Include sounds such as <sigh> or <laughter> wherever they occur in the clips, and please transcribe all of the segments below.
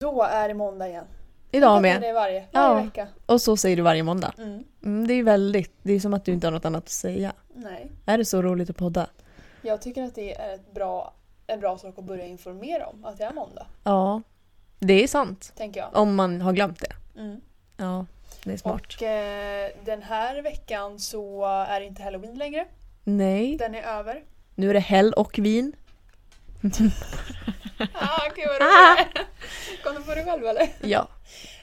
Då är det måndag igen. Idag Jag med. det varje, Ja. varje vecka. Och så säger du varje måndag. Mm. Mm, det är ju väldigt, det är som att du inte har något annat att säga. Nej. Är det så roligt att podda? Jag tycker att det är ett bra, en bra sak att börja informera om att det är måndag. Ja, det är sant. Tänker jag. Om man har glömt det. Mm. Ja, det är smart. Och eh, den här veckan så är det inte halloween längre. Nej, Den är <laughs> över. nu är det häll och vin. Ah, gud <laughs> vad roligt! Kom du på det själv eller? Ja.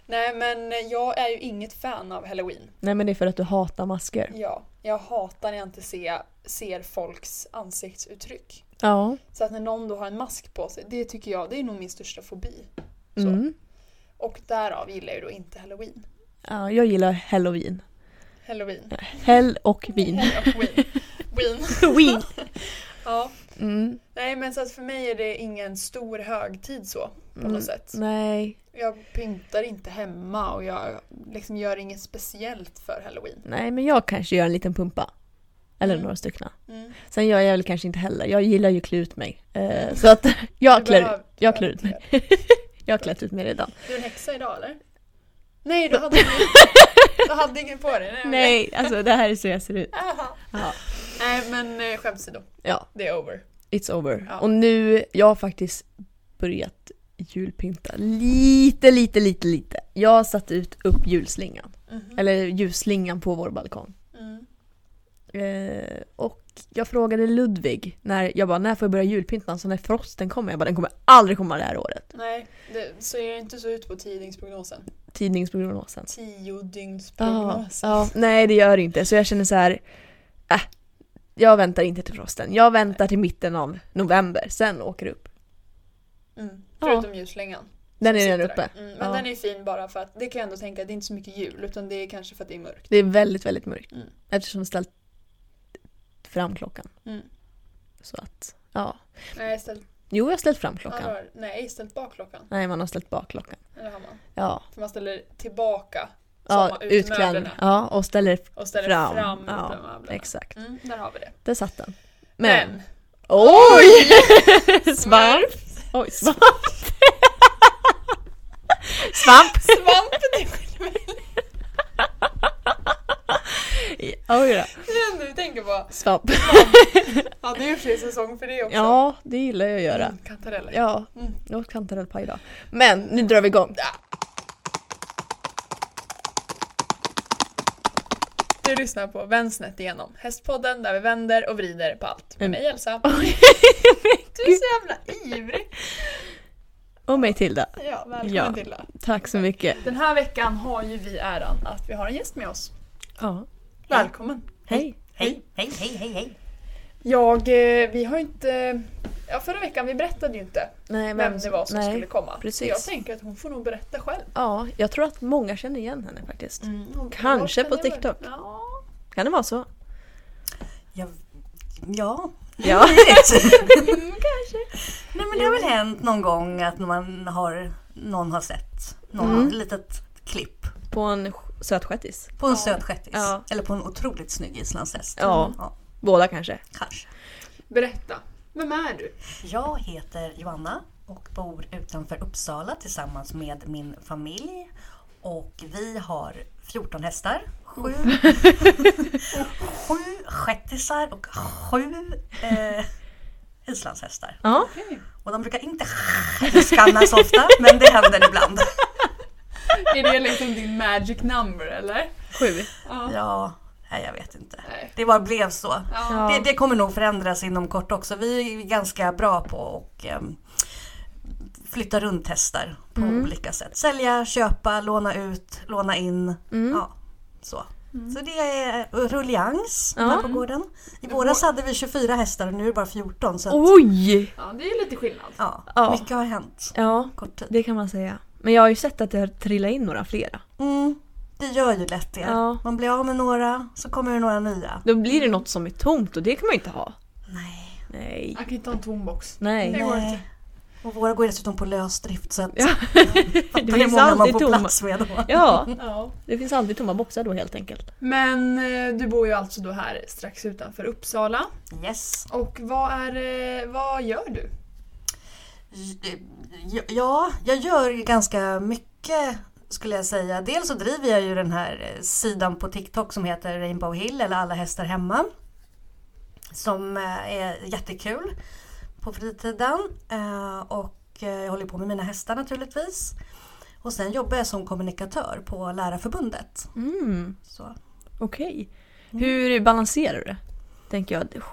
Nej men jag är ju inget fan av halloween. Nej men det är för att du hatar masker. Ja, jag hatar när jag inte ser, ser folks ansiktsuttryck. Ja. Så att när någon då har en mask på sig, det tycker jag, det är nog min största fobi. Så. Mm. Och därav gillar jag ju då inte halloween. ja jag gillar häll och vin. Halloween. Häll och vin. Halloween. <laughs> Ween. Win. Ja. Mm. Nej men så att för mig är det ingen stor högtid så. På något Mm. sätt. Nej, Jag pyntar inte hemma och jag liksom gör inget speciellt för halloween. nej men jag kanske gör en liten pumpa. Eller Mm. några stycken. Mm. Sen gör jag väl kanske inte heller. Jag gillar ju klä ut mig. Eh, så att <laughs> jag Du klär, behöver- jag klär ut inte mig. göra <laughs> Jag har klätt ut mig redan. det. Du är en häxa idag eller? Nej du hade, du hade ingen på dig. okej. Nej, alltså det här är så jag ser ut. Aha. Ja. Nej men eh, skämt åsido, Ja, det är over. it's over. Ja. Och nu, jag har faktiskt börjat julpynta lite, lite, lite, lite. Jag har satt ut upp julslingan. Eller ljusslingan på vår balkong. Mm-hmm. Mm. Eh, och jag frågade Ludvig, när, jag bara när får jag börja julpynta? Så när frosten kommer? Jag bara den kommer aldrig komma det här året. Nej, det ser inte så ut på tidningsprognosen. Tidningsprognosen. Tio Ja, dygnsprognosen. ja, nej det gör det inte. Så jag känner så här, äh, jag väntar inte till frosten. Jag väntar till mitten av november, sen åker det upp. Mm. Ja. Förutom ljusslingan. Den som är redan sitter där. uppe. Mm, men Ja. den är fin bara för att det kan jag ändå tänka, det är inte så mycket jul utan det är kanske för att det är mörkt. Det är väldigt, väldigt mörkt. Mm. Eftersom jag ställt fram klockan. Mm. Så att, ja. Nej, ställt, Jo, jag har ställt fram klockan. har, nej, ställt bak klockan. Nej, man har ställt bak klockan. Eller har man? Ja. För man ställer tillbaka Ja, Samma ut utklädd. möblerna. Ja, och ställer och ställer Fram. fram, fram Ja, utan möblerna. Exakt. Mm, där har vi det. Där satt den. Men. Oj! <laughs> Svamp! Oj, svamp! <laughs> svamp! Svampen är <laughs> skillnaden. Oj då. Det är det enda vi tänker på. Svamp. Ja, det är ju för sig säsong för det också. Ja, det gillar jag att göra. Mm, kantareller. Ja, Mm. jag åt kantarellpaj idag. Men nu drar vi igång. Du lyssnar på Vänd snett igenom, hästpodden där vi vänder och vrider på allt. Med Mm. mig Elsa. <laughs> Du är Gud. så jävla ivrig. Och mig Tilda. Ja, välkommen Ja. Tilda. Tack så mycket. Den här veckan har ju vi äran att vi har en gäst med oss. Ja. Välkommen. Hej. Hej, hej, hej, hej, hej. Jag, eh, vi har inte... Ja, förra veckan, vi berättade ju inte Nej, vem, det var som skulle komma. Så precis. Jag tänker att hon får nog berätta själv. Ja, jag tror att många känner igen henne faktiskt. Mm, Hon- Kanske hon på känner väl- TikTok. Ja. Kan det vara så? Ja, ja. Ja. Nej, men det har väl hänt någon gång att man har, någon har sett någon Mm. har ett litet klipp <laughs> På en sk- sötskötis. på en Ja. söt shettis. Ja. Eller på en otroligt snygg islandshäst. Ja. ja, Båda kanske. kanske. Berätta. Vem är du? Jag heter Joanna och bor utanför Uppsala tillsammans med min familj. Och vi har 14 hästar, <laughs> 7, sju shettisar och 7 eh, islandshästar. Ja. Och de brukar inte <laughs> skannas ofta, men det händer ibland. Är det liksom din magic number eller? Sju. Ja. Ja, nej, jag vet inte. Nej. Det bara blev så. Ja. Ja. Det, det kommer nog förändras inom kort också. Vi är ganska bra på och ehm, flytta runt hästar på Mm. olika sätt. Sälja, köpa, låna ut, låna in. Mm. Ja, så. Så det är rullians Ja. Mm. här på gården. I våras hade vi 24 hästar och nu är det bara 14. Så att, Oj! ja, det är ju lite skillnad. ja, Oh. Ja. mycket har hänt Ja, på kort tid. det kan man säga. Men jag har ju sett att det har trillat in några flera. Mm, det gör ju lätt det. Ja. Man blir av med några, så kommer det några nya. Då blir det något som är tomt och det kan man ju inte ha. Nej. Nej. Jag kan inte ha en tom box. Nej. Det går inte. Och våra går ju dessutom på lösdrift så att Ja. <laughs> fattar Det hur finns många man alltid får tomma. plats med då. Ja, Ja. det finns alltid tomma boxar då helt enkelt. Men eh, du bor ju alltså då här strax utanför Uppsala. Yes. Och vad är eh, vad gör du? J- Ja, jag gör ju ganska mycket skulle jag säga. Dels så driver jag ju den här eh, sidan på TikTok som heter Rainbow Hill eller Alla hästar hemma. Som eh, är jättekul på fritiden. Eh, Och eh, jag håller på med mina hästar naturligtvis. Och sen jobbar jag som kommunikatör på Lärarförbundet. Mm, Så Okej. Hur balanserar du det? Tänker jag.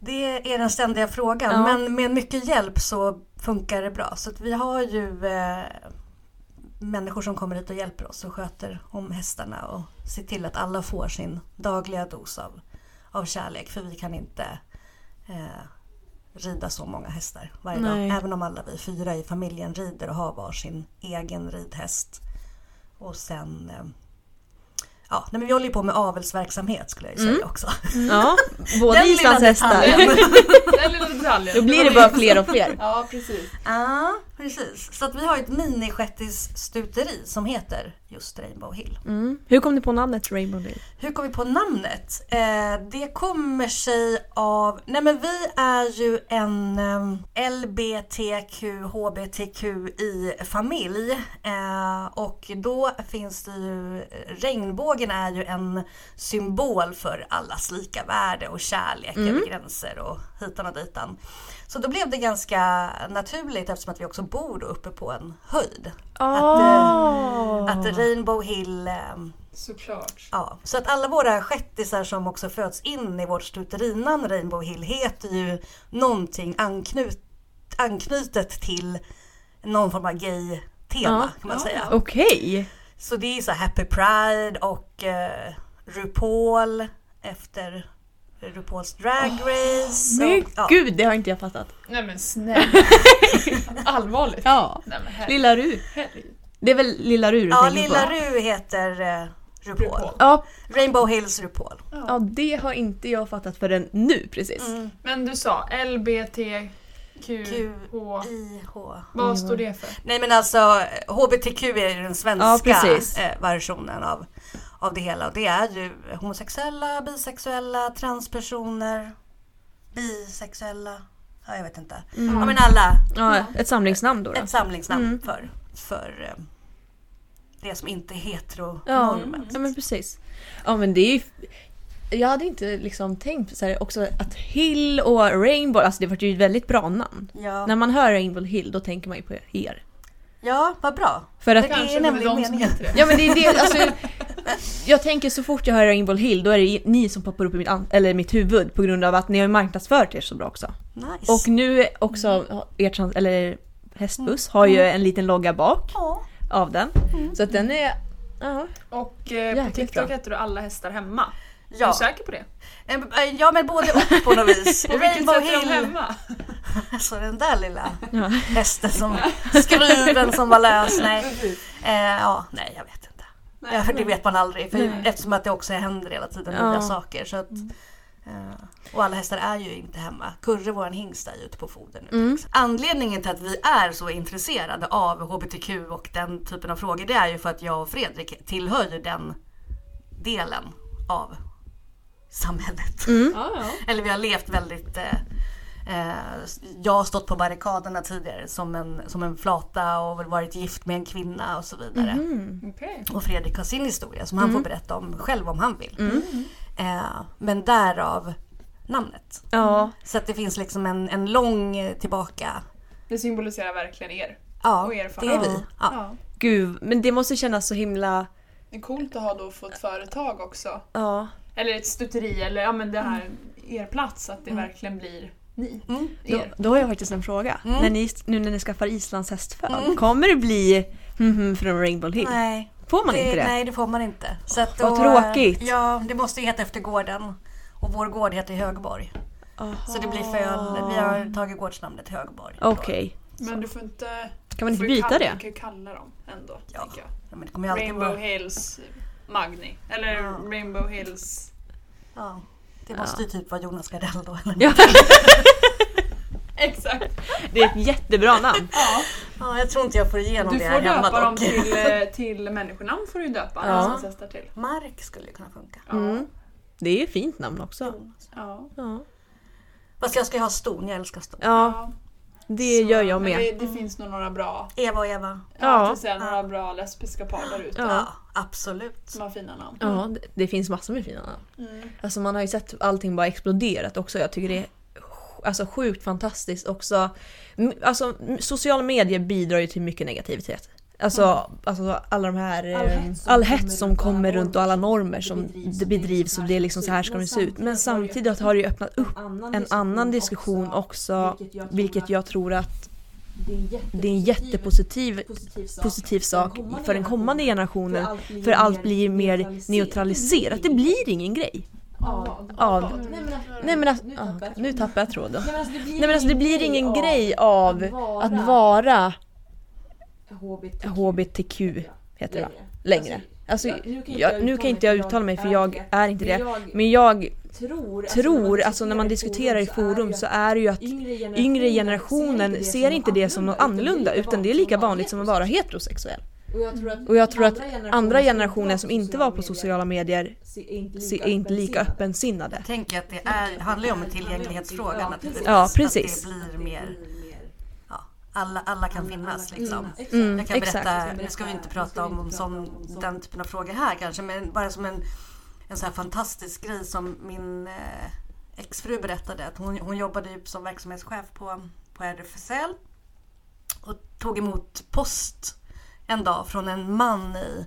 Det är den ständiga frågan, Ja. men med mycket hjälp så funkar det bra. Så att vi har ju eh, människor som kommer hit och hjälper oss och sköter om hästarna och ser till att alla får sin dagliga dos av, av kärlek. För vi kan inte eh, rida så många hästar varje Nej. dag. Även om alla vi fyra i familjen rider och har varsin egen ridhäst. Och sen... Eh, ja, nej, men vi håller ju på med avelsverksamhet skulle jag ju säga Mm. också. Ja, båda Den lilla islandshästar. detaljen. Den lilla detaljen. Då blir det bara fler och fler. Ja, precis. Ja, precis. Så att vi har ett minishettisstuteri som heter just Rainbow Hill. Mm. Hur kom ni på namnet Rainbow Day? Hur kom vi på namnet? Eh, det kommer sig av... Nej men vi är ju en eh, LBTQ, HBTQI-familj. Eh, och då finns det ju... Regnbågen är ju en symbol för allas lika värde och kärlek över gränser och hitan och ditan. Så då blev det ganska naturligt eftersom att vi också bor då uppe på en höjd. Oh. Att Rainbow Hill ehm, Såklart. Ja, så att alla våra shettisar som också föds in i vårt stuterinamn Rainbow Hill heter ju någonting anknut, anknutet till någon form av gay-tema kan man ja. säga. Okej. Så det är så här Happy Pride och eh, RuPaul efter RuPauls Drag Race. Men och, ja. gud, det har inte jag fattat. Nej men <laughs> snälla. Allvarligt. Ja. Nej men herregud. Lilla Ru. Det är väl Lilla Ru du ja, tänker Lilla på? Ru heter eh, RuPaul. RuPaul. Ja, Rainbow Hills RuPaul. ja, det har inte jag fattat förrän nu precis. Mm. Men du sa Q, LBTQH. I, H. Vad står det för? Nej men alltså HBTQ är ju den Ja, svenska precis. eh, versionen av, av det hela. Och det är ju homosexuella, bisexuella, transpersoner, bisexuella. Ja, jag vet inte. Ja men alla. Mm. Ja, Mm. ett samlingsnamn då. då. Ett samlingsnamn för, för eh, det som inte är Ja, heteronormen. ja, men precis. Ja, men det är ju... Jag hade inte liksom tänkt så här också att Hill och Rainbow, alltså det var ju ett väldigt bra namn. Ja. När man hör Rainbow Hill då tänker man ju på er. ja, vad bra. För att Kanske är det är nämligen de som meningen. heter det. Ja men det är det, alltså, Jag tänker så fort jag hör Rainbow Hill då är det ni som poppar upp i mitt, an- eller mitt huvud på grund av att ni har marknadsfört er så bra också. Nice. Och nu också, er trans- eller hästbuss har ju en liten logga bak ja. av den. Så att den är... Ja. Och eh, på Jäkligt TikTok bra. heter du alla hästar hemma. Är Ja. du säker på det? Eh, eh, ja men både <laughs> och på något vis. På vilket Rainbow sätt är de Hill. hemma? Alltså den där lilla Ja. hästen som skruven som var lös. Nej, eh, ja, nej jag vet inte. Ja, för det vet man aldrig för eftersom att det också händer hela tiden Ja. Mm. nya saker. Så att, eh, och alla hästar är ju inte hemma. Kurre, vår hingst, är ju ute på foder nu. till Mm. exempel. Anledningen till att vi är så intresserade av HBTQ och den typen av frågor det är ju för att jag och Fredrik tillhör ju den delen av samhället. Ja, ja. Eller vi har levt väldigt... Eh, eh, jag har stått på barrikaderna tidigare som en, som en flata och väl varit gift med en kvinna och så vidare. Mhm. Okej. Och Fredrik har sin historia som han Mm. får berätta om själv om han vill. Eh, men därav namnet. ja. Så att det finns liksom en, en lång eh, tillbaka... Det symboliserar verkligen er. Ja, Och det erfarenhet. är vi. Ja. Ja. Gud, men det måste kännas så himla... Det är coolt att ha då fått företag också. Ja. Eller ett stuteri eller ja men det här, er plats. Att det verkligen blir ni. Då, Er. då har jag faktiskt en fråga. När ni, nu när ni skaffar Islands hästföl, kommer det bli mhm från Rainbow Hill? Nej, Får man inte det? Nej, det får man inte. Så att Vad tråkigt. Ja, det måste ju heta efter gården. Och vår gård heter Högborg. Så det blir föl. Vi har tagit gårdsnamnet Högborg. då. Okej. Men du får inte... Kan man inte får ju byta kalla, det? Du kan ju kalla dem ändå. Ja. Tänker jag. Ja, men det kommer ju alltid Rainbow vara... Hills Magni. Eller Ja. Rainbow Hills... <laughs> Ja, det måste ju typ vara Jonas Gardell då. Eller? Ja, <laughs> Exakt! det är ett jättebra namn. Ja. Ja, jag tror inte jag får igenom Du det får här hemma döpa dem dock. till, eh, till människonamn får du döpa Ja. ja. hästar till. Mark skulle ju kunna funka. Ja. Mm. Det är ett fint namn också. Ja. Ja. Fast jag ska ju ha ston, jag älskar ston. ja. Det Så, gör jag men med. Det, det finns nog några bra, Eva och Eva. Ja. ja, till sen, några bra lesbiska par där ute Ja. Ja, absolut. som har fina namn. Ja, det, det finns massor med fina namn. Mm. Alltså man har ju sett allting bara exploderat också. Jag tycker det är sj- alltså, sjukt fantastiskt också. M- Alltså m- sociala medier bidrar ju till mycket negativitet. Alltså, alltså alla de här... eh, All hets som all hets kommer som runt och alla kommer runt och alla normer som bedrivs det och det är bedrivs så och här det är liksom så här ska ska det se ut. det se ut. Men Men samtidigt samtidigt har det ju öppnat upp annan en annan diskussion också. vilket jag tror Vilket att jag tror att det är en jättepositiv, det är en jättepositiv positiv sak. positiv sak för den kommande generationen. blir För allt blir neutraliserat. mer neutraliserat. Det blir ingen grej. av. Av. Nej men alltså, Nej men alltså, nu ah, tappar jag okej, nu tråden. tappar jag tråden. Nej men alltså, det blir, Nej men alltså det blir ingen grej av att vara HBTQ. HBTQ heter det va? längre. längre. Alltså, jag, nu kan inte jag uttala mig för jag är inte det. Jag Men jag tror, tror, alltså när man diskuterar i forum så är det ju att yngre generationen ser inte det som något annorlunda utan det är lika vanligt som att vara heterosexuell. Och jag tror att, Och jag tror att andra generationer generationer som inte var på sociala medier medier är inte se- är inte lika öppensinnade. öppensinnade. tänker att det är, handlar ju om en tillgänglighetsfråga naturligtvis. Ja, precis. Att det blir mer, ja, alla, alla kan finnas liksom. Mm, Jag kan berätta, exakt. nu ska vi inte prata om, om sån, den typen av frågor här kanske, men bara som en, en så här fantastisk grej som min eh, exfru berättade. Att hon, hon jobbade ju som verksamhetschef på, på RFSL och tog emot post en dag från en man i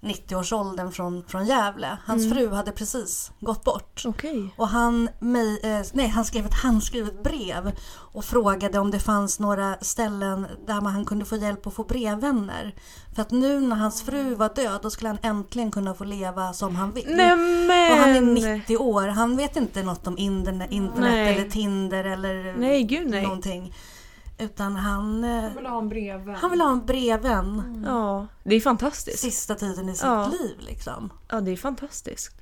90-årsåldern från, från Gävle. Hans Mm. fru hade precis gått bort. Okej. Och han, mig, eh, nej, han skrev ett handskrivet brev och frågade om det fanns några ställen där man, han kunde få hjälp att få brevvänner. För att nu när hans fru var död då skulle han äntligen kunna få leva som han vill. Och han är Nämen! 90 år, han vet inte något om internet, internet Nej. eller Tinder eller Nej gud nej. någonting. Utan han, eh, Jag vill ha en brevvän. han vill ha en brevvän Ja, det är fantastiskt. sista tiden i sitt Mm. Ja. liv liksom. Ja, det är fantastiskt.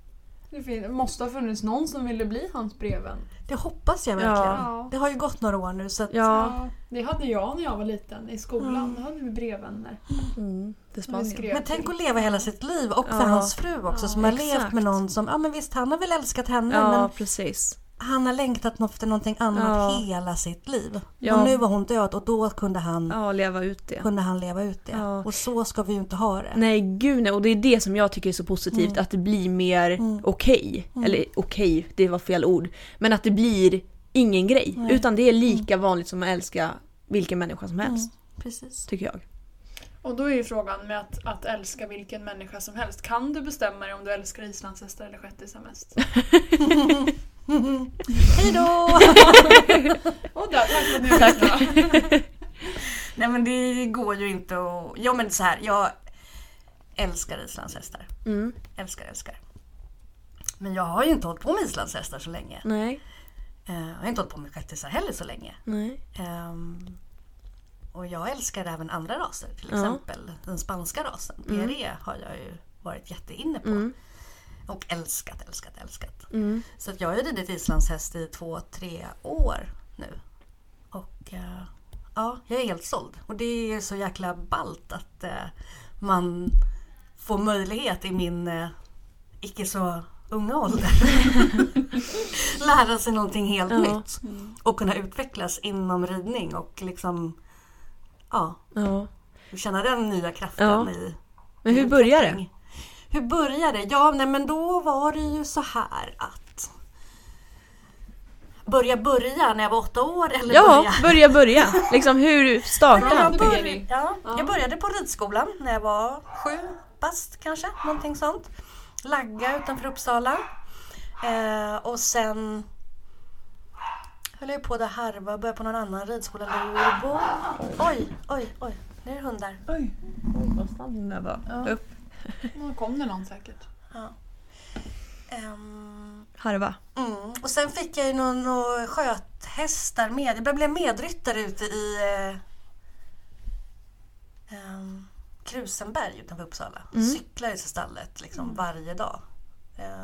Det fin- måste ha funnits någon som ville bli hans brevvän. Det hoppas jag verkligen. Ja. Det har ju gått några år nu så att Ja. Det hade jag när jag var liten i skolan. Då hade vi brevvänner. Mm, det är Vi Spanien. skrev Men tänk till- att leva hela sitt liv och för Ja. hans fru också Ja, som har levt exakt. med någon som, ja men visst han har väl älskat henne Ja, men precis. han har längtat efter någonting annat Ja. hela sitt liv. Ja. Och nu var hon död och då kunde han, Ja, leva ut det. kunde han leva ut det. Ja. Och så ska vi ju inte ha det. Nej gud nej, och det är det som jag tycker är så positivt att det blir mer okej. Eller okej, det var fel ord. Men att det blir ingen grej. Utan det är lika vanligt som att älska vilken människa som helst. Precis. Tycker jag. Och då är ju frågan med att, att älska vilken människa som helst. Kan du bestämma dig om du älskar islandshästar eller shettisar mest? <laughs> Hej då! Och där, tack för att ni har lyssnat. Nej men det går ju inte att, ja men så här, jag älskar islandshästar. Mm. Älskar, älskar. Men jag har ju inte hållit på med islandshästar så länge. Nej, Eh, Jag har inte hållit på med shettisar heller så länge. nej. Ehm, och jag älskar även andra raser, till Ja. exempel den spanska rasen. PRE har jag ju varit jätteinne på. Och älskat, älskat, älskat. Mm. Så att jag har ju ridit islandshäst i två, tre år nu. Och eh, ja, jag är helt såld. Och det är så jäkla ballt att eh, man får möjlighet i min eh, icke så unga ålder <laughs> lära sig någonting helt Ja. Mm. nytt och kunna utvecklas inom ridning och liksom ja, Ja. känna den nya kraften Ja. i Men hur börjar det? hur började det? Ja, nej, men då var det ju så här att börja börja när jag var åtta år eller Ja, börja börja börja. Liksom hur startar Ja, man? men- jag, beginning. ja, jag började på ridskolan när jag var sju bast kanske, någonting sånt. Lagga utanför Uppsala. Eh, och sen höll jag ju på där harva, började på någon annan ridskola, Luleå. Oj, oj, oj, nu är det hundar. Ja. Upp, Nu kom det någon säkert. Ehm, harva. Mm. Och sen fick jag ju någon, någon sköthästar med. Jag blev medryttare ute i eh, ehm, Krusenberg utanför Uppsala. Mm. Cyklade till stallet liksom varje dag. Eh,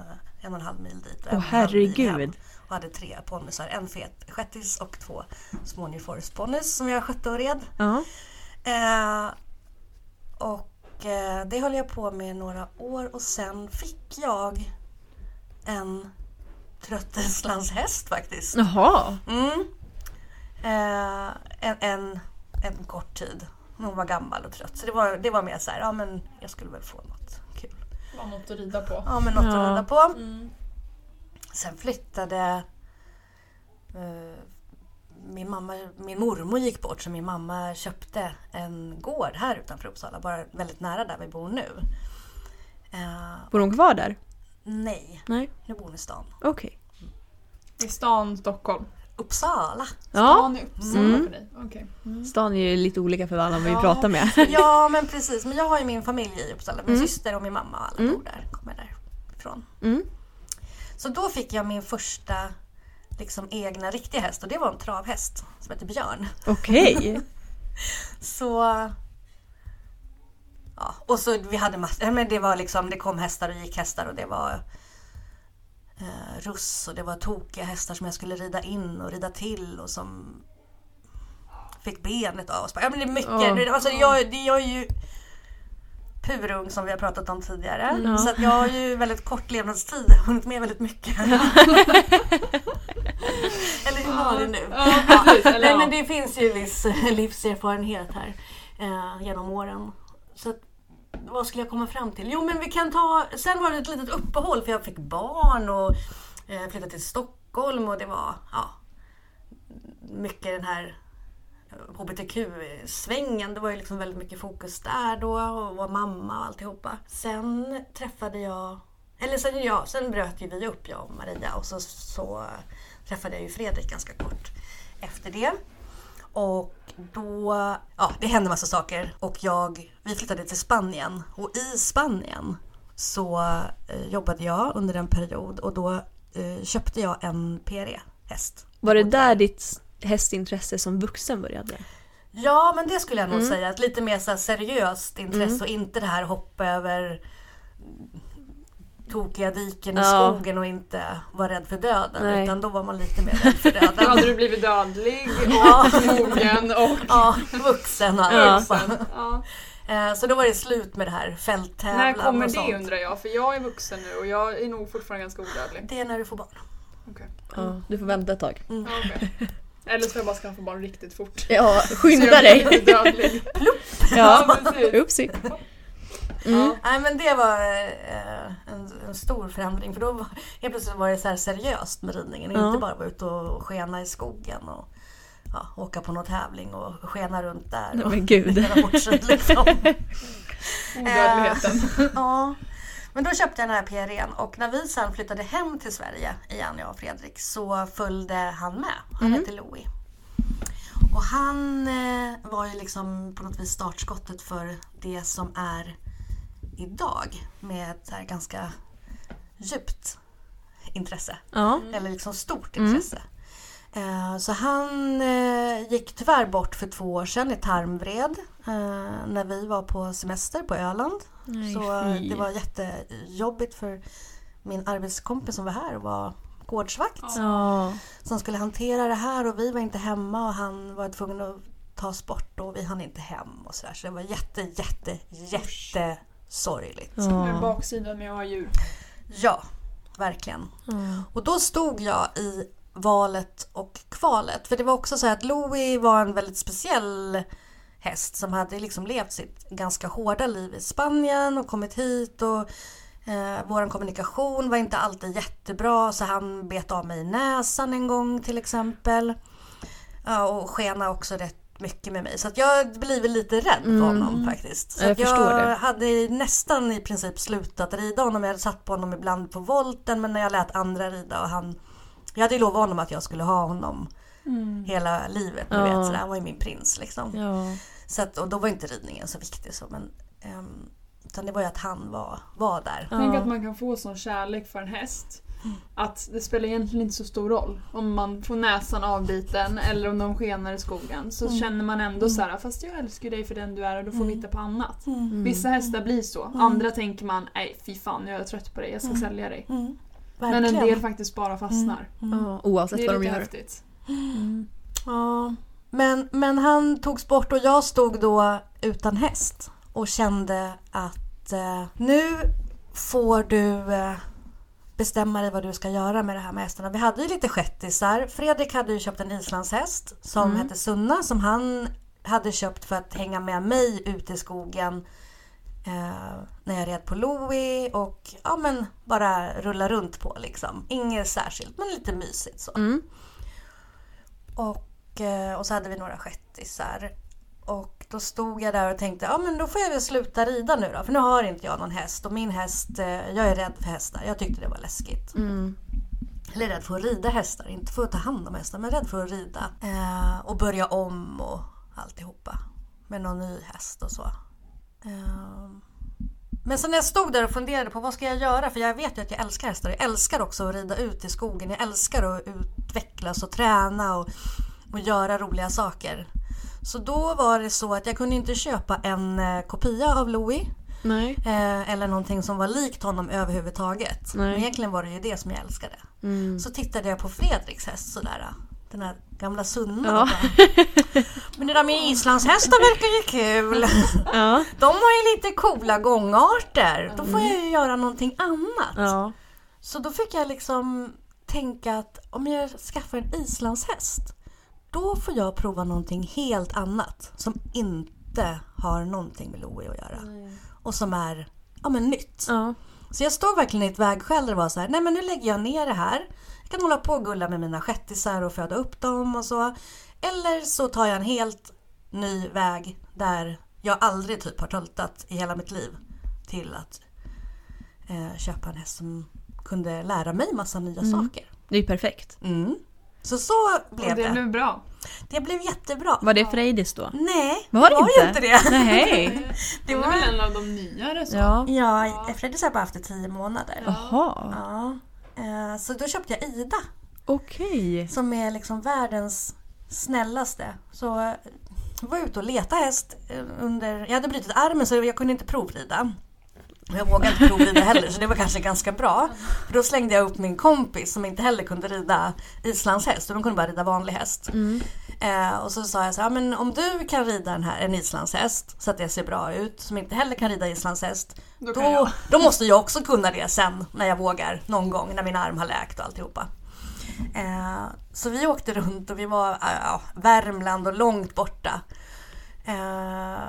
en och en halv mil dit och en Åh, och en halv mil hem. herregud. Och hade tre ponnysar. En fet shettis och två små newforest-ponnys som jag skötte och red. Ja. Eh, och eh, det höll jag på med några år och sen fick jag en trötteslandshäst faktiskt. Jaha. Mm. eh, en, en, en kort tid. Hon var gammal och trött. Så det var, det var mer så här, ja men jag skulle väl få något kul. Var något att rida på. Ja men något Ja. att rida på. Mm. Sen flyttade eh, min, mamma, min mormor gick bort så min mamma köpte en gård här utanför Uppsala, bara väldigt nära där vi bor nu. Eh, Bor hon kvar där? nej, Nej. nu bor hon i stan. Okej. I stan Stockholm. Uppsala! <laughs> Ja. Stan i Uppsala Mm. för dig. Okej. Stan är ju lite olika för alla vi Ja. pratar med. Ja men precis, men jag har ju min familj i Uppsala. Min Mm. syster och min mamma och alla Mm. bor där, kommer därifrån. <laughs> Mm. Så då fick jag min första liksom egna riktiga häst och det var en travhäst som hette Björn. Okej. Så... Ja, och så vi hade massor, ja, men det var liksom, det kom hästar och gick hästar och det var eh, russ och det var tokiga hästar som jag skulle rida in och rida till och som fick benet av oss. Ja men det är mycket, Ja. det- alltså jag, det, jag är ju purung som vi har pratat om tidigare. Mm. Så att jag har ju väldigt kort levnadstid, hunnit med väldigt mycket. <laughs> Eller hur var det nu? Ja, precis. Eller, Nej ja. men det finns ju viss livserfarenhet här eh, genom åren. Så att, vad skulle jag komma fram till? Jo men vi kan ta, sen var det ett litet uppehåll för jag fick barn och eh, flyttade till Stockholm och det var ja, mycket den här eh, HBTQ-svängen. Det var ju liksom väldigt mycket fokus där då och var mamma och alltihopa. Sen träffade jag, eller sen, ja, sen bröt ju vi upp jag och Maria och så, så träffade jag ju Fredrik ganska kort efter det. Och då, ja det hände massa saker och jag, vi flyttade till Spanien och i Spanien så eh, jobbade jag under en period och då eh, köpte jag en PRE-häst. Var det där ditt hästintresse som vuxen började? Ja men det skulle jag nog Mm. säga, ett lite mer så här seriöst intresse och inte det här hoppa över tokiga diken i Ja. skogen och inte vara rädd för döden Nej. utan då var man lite mer rädd <laughs> för Då hade döden. du blivit dödlig ja, och mogen och... ja, vuxen och Ja. alltihopa. Ja. Eh, Så då var det slut med det här fälttävlan När kommer och det sånt. undrar jag? För jag är vuxen nu och jag är nog fortfarande ganska odödlig. Det är när du får barn. Ja, du får vänta ett tag. Ja, okej. Eller så får jag bara skaffa barn riktigt fort. <laughs> Ja, Så skynda jag blir dig! lite <laughs> dödlig. Ja, precis. upsi. Mm. Nej men det var eh, en, en stor förändring för då var, helt plötsligt var det så här seriöst med ridningen. Ja. Inte bara vara ute och skena i skogen och ja, åka på någon tävling och skena runt där. Nej och men gud. göra bort sig, liksom. Odödligheten. ja. Men då köpte jag den här PRN och när vi sen flyttade hem till Sverige igen, jag och Fredrik, så följde han med. Han hette Louis. Och han eh, var ju liksom på något vis startskottet för det som är idag med ett så här ganska djupt intresse. Ja. Eller liksom stort intresse. Eh, Så han eh, gick tyvärr bort för två år sedan i tarmvred eh, när vi var på semester på Öland. Nej, så eh, fy. det var jättejobbigt för min arbetskompis som var här och var gårdsvakt Ja. som skulle hantera det här och vi var inte hemma och han var tvungen att tas bort och vi hann inte hem och sådär. Så det var jätte, jätte, jätte sorgligt. Med Ja. baksidan med att ha djur. Ja, verkligen. Ja. Och då stod jag i valet och kvalet. För det var också så här att Louis var en väldigt speciell häst som hade liksom levt sitt ganska hårda liv i Spanien och kommit hit och eh, vår kommunikation var inte alltid jättebra så han bet av mig i näsan en gång till exempel. Ja, och skena också rätt mycket med mig så att jag blev lite rädd för honom faktiskt. Så Jag att förstår det. jag hade nästan i princip slutat rida honom. Jag hade satt på honom ibland på volten men när jag lät andra rida och han jag hade ju lovat honom att jag skulle ha honom Mm. hela livet. Du Ja. vet, så han var ju min prins liksom. Ja. Så att, och då var inte ridningen så viktig. Så, men, um, utan det var ju att han var, var där. Tänk att man kan få sån kärlek för en häst. Att det spelar egentligen inte så stor roll om man får näsan avbiten eller om de skenar i skogen. Så Mm. känner man ändå så här, fast jag älskar dig för den du är och då får vi hitta på annat. Mm. Mm. Vissa hästar blir så, andra tänker man, nej fy fan nu är jag trött på dig, jag ska Mm. sälja dig. Men en Mm. Verkligen. del faktiskt bara fastnar. Ja, Det Oavsett är vad de lite gör. häftigt. Ja. Men, men han togs bort och jag stod då utan häst och kände att eh, nu får du eh, bestämma dig vad du ska göra med det här med hästarna. Vi hade ju lite shettisar. Fredrik hade ju köpt en islandshäst som hette Sunna som han hade köpt för att hänga med mig ute i skogen eh, när jag red på Louie och ja, men bara rulla runt på liksom. Inget särskilt men lite mysigt så. Mm. Och, eh, och så hade vi några shettisar. Och då stod jag där och tänkte, ja men då får jag väl sluta rida nu då. För nu har inte jag någon häst och min häst, eh, jag är rädd för hästar. Jag tyckte det var läskigt. Mm. Eller rädd för att rida hästar, inte för att ta hand om hästar men rädd för att rida. Eh, och börja om och alltihopa. Med någon ny häst och så. Eh, men sen när jag stod där och funderade på vad ska jag göra? För jag vet ju att jag älskar hästar. Jag älskar också att rida ut i skogen. Jag älskar att utvecklas och träna och, och göra roliga saker. Så då var det så att jag kunde inte köpa en eh, kopia av Louis. Nej. Eh, eller någonting som var likt honom överhuvudtaget. Nej. Men egentligen var det ju det som jag älskade. Mm. Så tittade jag på Fredriks häst sådär. Den här gamla Sunna. Ja. Bara, <laughs> Men det där med islandshästar verkar ju <laughs> kul. Ja. De har ju lite coola gångarter. Då får jag ju göra någonting annat. Mm. Ja. Så då fick jag liksom tänka att om jag skaffar en islandshäst då får jag prova någonting helt annat som inte har någonting med Louie att göra. Och som är ja, men nytt. Ja. Så jag stod verkligen i ett vägskäl där det var så här, nej men nu lägger jag ner det här. Jag kan hålla på och gulla med mina shettisar och föda upp dem och så. Eller så tar jag en helt ny väg där jag aldrig typ har töltat i hela mitt liv till att eh, köpa en häst som kunde lära mig massa nya Mm. saker. Det är ju perfekt. Mm. Så så blev Och det det. blev bra. Det blev jättebra. Var det Frejdis <laughs> då? Nej, Var det inte? ju inte det. Nej. Det var väl en av de nyare så. Ja. Ja, Fredrik har bara haft det tio månader. Jaha. Ja. Eh, Så då köpte jag Ida Okej. som är liksom världens snällaste. Så eh, jag var ute och letade häst eh, under... Jag hade brutit armen så jag kunde inte provrida. Och Jag vågade inte provrida heller så det var kanske ganska bra. För då slängde jag upp min kompis som inte heller kunde rida islandshäst och de kunde bara rida vanlig häst. Eh, och så sa jag så här, "Ja, men om du kan rida den här, en islandshäst så att det ser bra ut, som inte heller kan rida islandshäst, då, Då då, kan jag." måste jag också kunna det sen när jag vågar någon gång när min arm har läkt och alltihopa. Eh, så vi åkte runt och vi var ja, ja, Värmland och långt borta. Eh,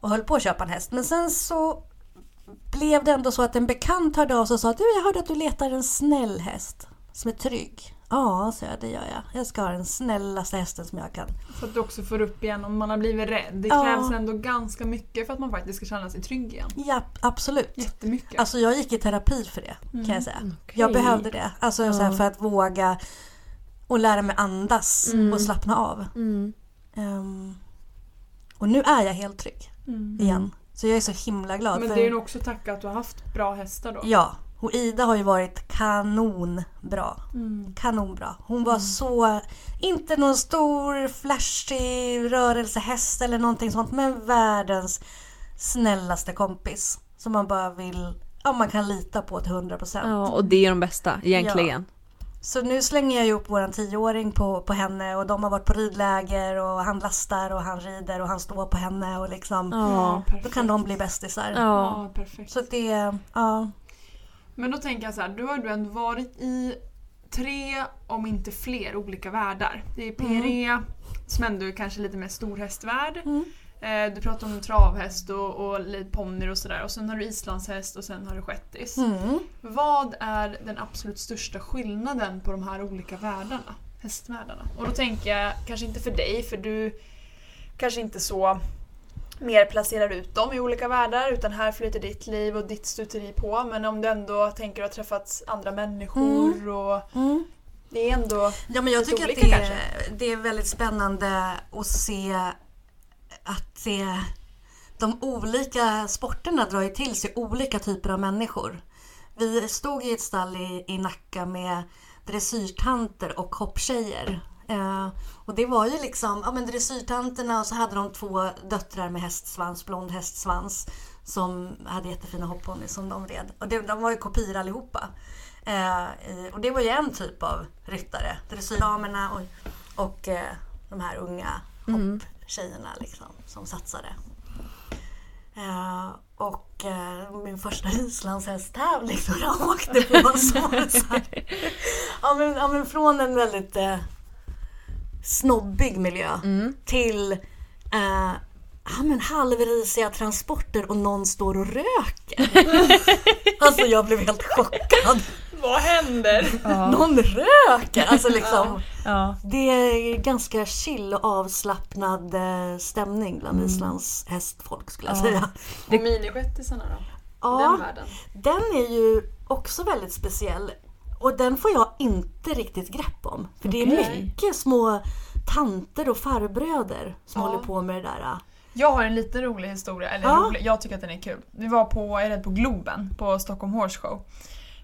och höll på att köpa en häst. Men sen så blev det ändå så att en bekant hörde av sig och sa du jag hörde att du letar en snäll häst som är trygg. Ja, sa jag, det gör jag. Jag ska ha den snällaste hästen som jag kan. Så att du också får upp igen om man har blivit rädd. Det Ja. krävs ändå ganska mycket för att man faktiskt ska känna sig trygg igen. Ja, absolut. Jättemycket. Alltså jag gick i terapi för det kan Mm, jag säga. Jag Okej. behövde det. Alltså så här, för att våga och lära mig andas och slappna av. Mm. Ehm, och nu är jag helt trygg Mm. igen. Så jag är så himla glad. Men för- det är ju nog också tacka att du har haft bra hästar då. Ja, och Ida har ju varit kanonbra. Mm. Kanonbra. Hon Mm. var så, inte någon stor flashig rörelsehäst eller någonting sånt, men världens snällaste kompis. Som man bara vill, ja man kan lita på till 100 procent. Ja, och det är de bästa egentligen. Så nu slänger jag ju upp våran tioåring på, på henne och de har varit på ridläger och han lastar och han rider och han står på henne och liksom. Ja. Då perfekt. kan de bli bästisar. Ja. Ja, perfekt. Så det, ja. Men då tänker jag så här, du har ju ändå varit i tre, om inte fler, olika världar. Det är PRE, Mm. som ändå är kanske lite mer storhästvärld. Eh, Du pratar om travhäst och, och lite ponnyer och sådär. Och sen har du islandshäst och sen har du shettis. Mm. Vad är den absolut största skillnaden på de här olika världarna? Hästvärldarna. Och då tänker jag kanske inte för dig, för du kanske inte så mer placerar ut dem i olika världar utan här flyter ditt liv och ditt stuteri på. Men om du ändå tänker att ha träffat andra människor och Mm. det är ändå... Ja, men jag Lite tycker att olika det är, kanske. det är väldigt spännande att se att det, de olika sporterna drar ju till sig olika typer av människor. Vi stod i ett stall i, i Nacka med dressyrtanter och hopptjejer. Eh, och det var ju liksom ja, men dressyrtanterna och så hade de två döttrar med hästsvans, blond hästsvans som hade jättefina hoppponny som de red. Och det, de var ju kopior allihopa. Eh, i- och det var ju en typ av ryttare. Dressyrdamerna och, och eh, de här unga hopptjejerna liksom, som satsade. Eh, och eh, min första islandshästtävling som jag åkte på. Så var det så här. Ja, men, ja, men från en väldigt eh, snobbig miljö till eh, ja, men halvrisiga transporter och någon står och röker. alltså jag blev helt chockad. Vad händer? Ja. Någon röker! Alltså liksom. ja. Det är ganska chill och avslappnad eh, stämning bland Islands hästfolk skulle jag Mm. Ja. säga. Och minischettisarna då? Den Ja, världen? den är ju också väldigt speciell och den får jag inte riktigt grepp om. För det är Okej. mycket små tanter och farbröder som Ja. håller på med det där. eh, Jag har en lite rolig historia, eller Ja. rolig, jag tycker att den är kul. Vi var på, jag är rädd, på Globen, på Stockholm Horse Show.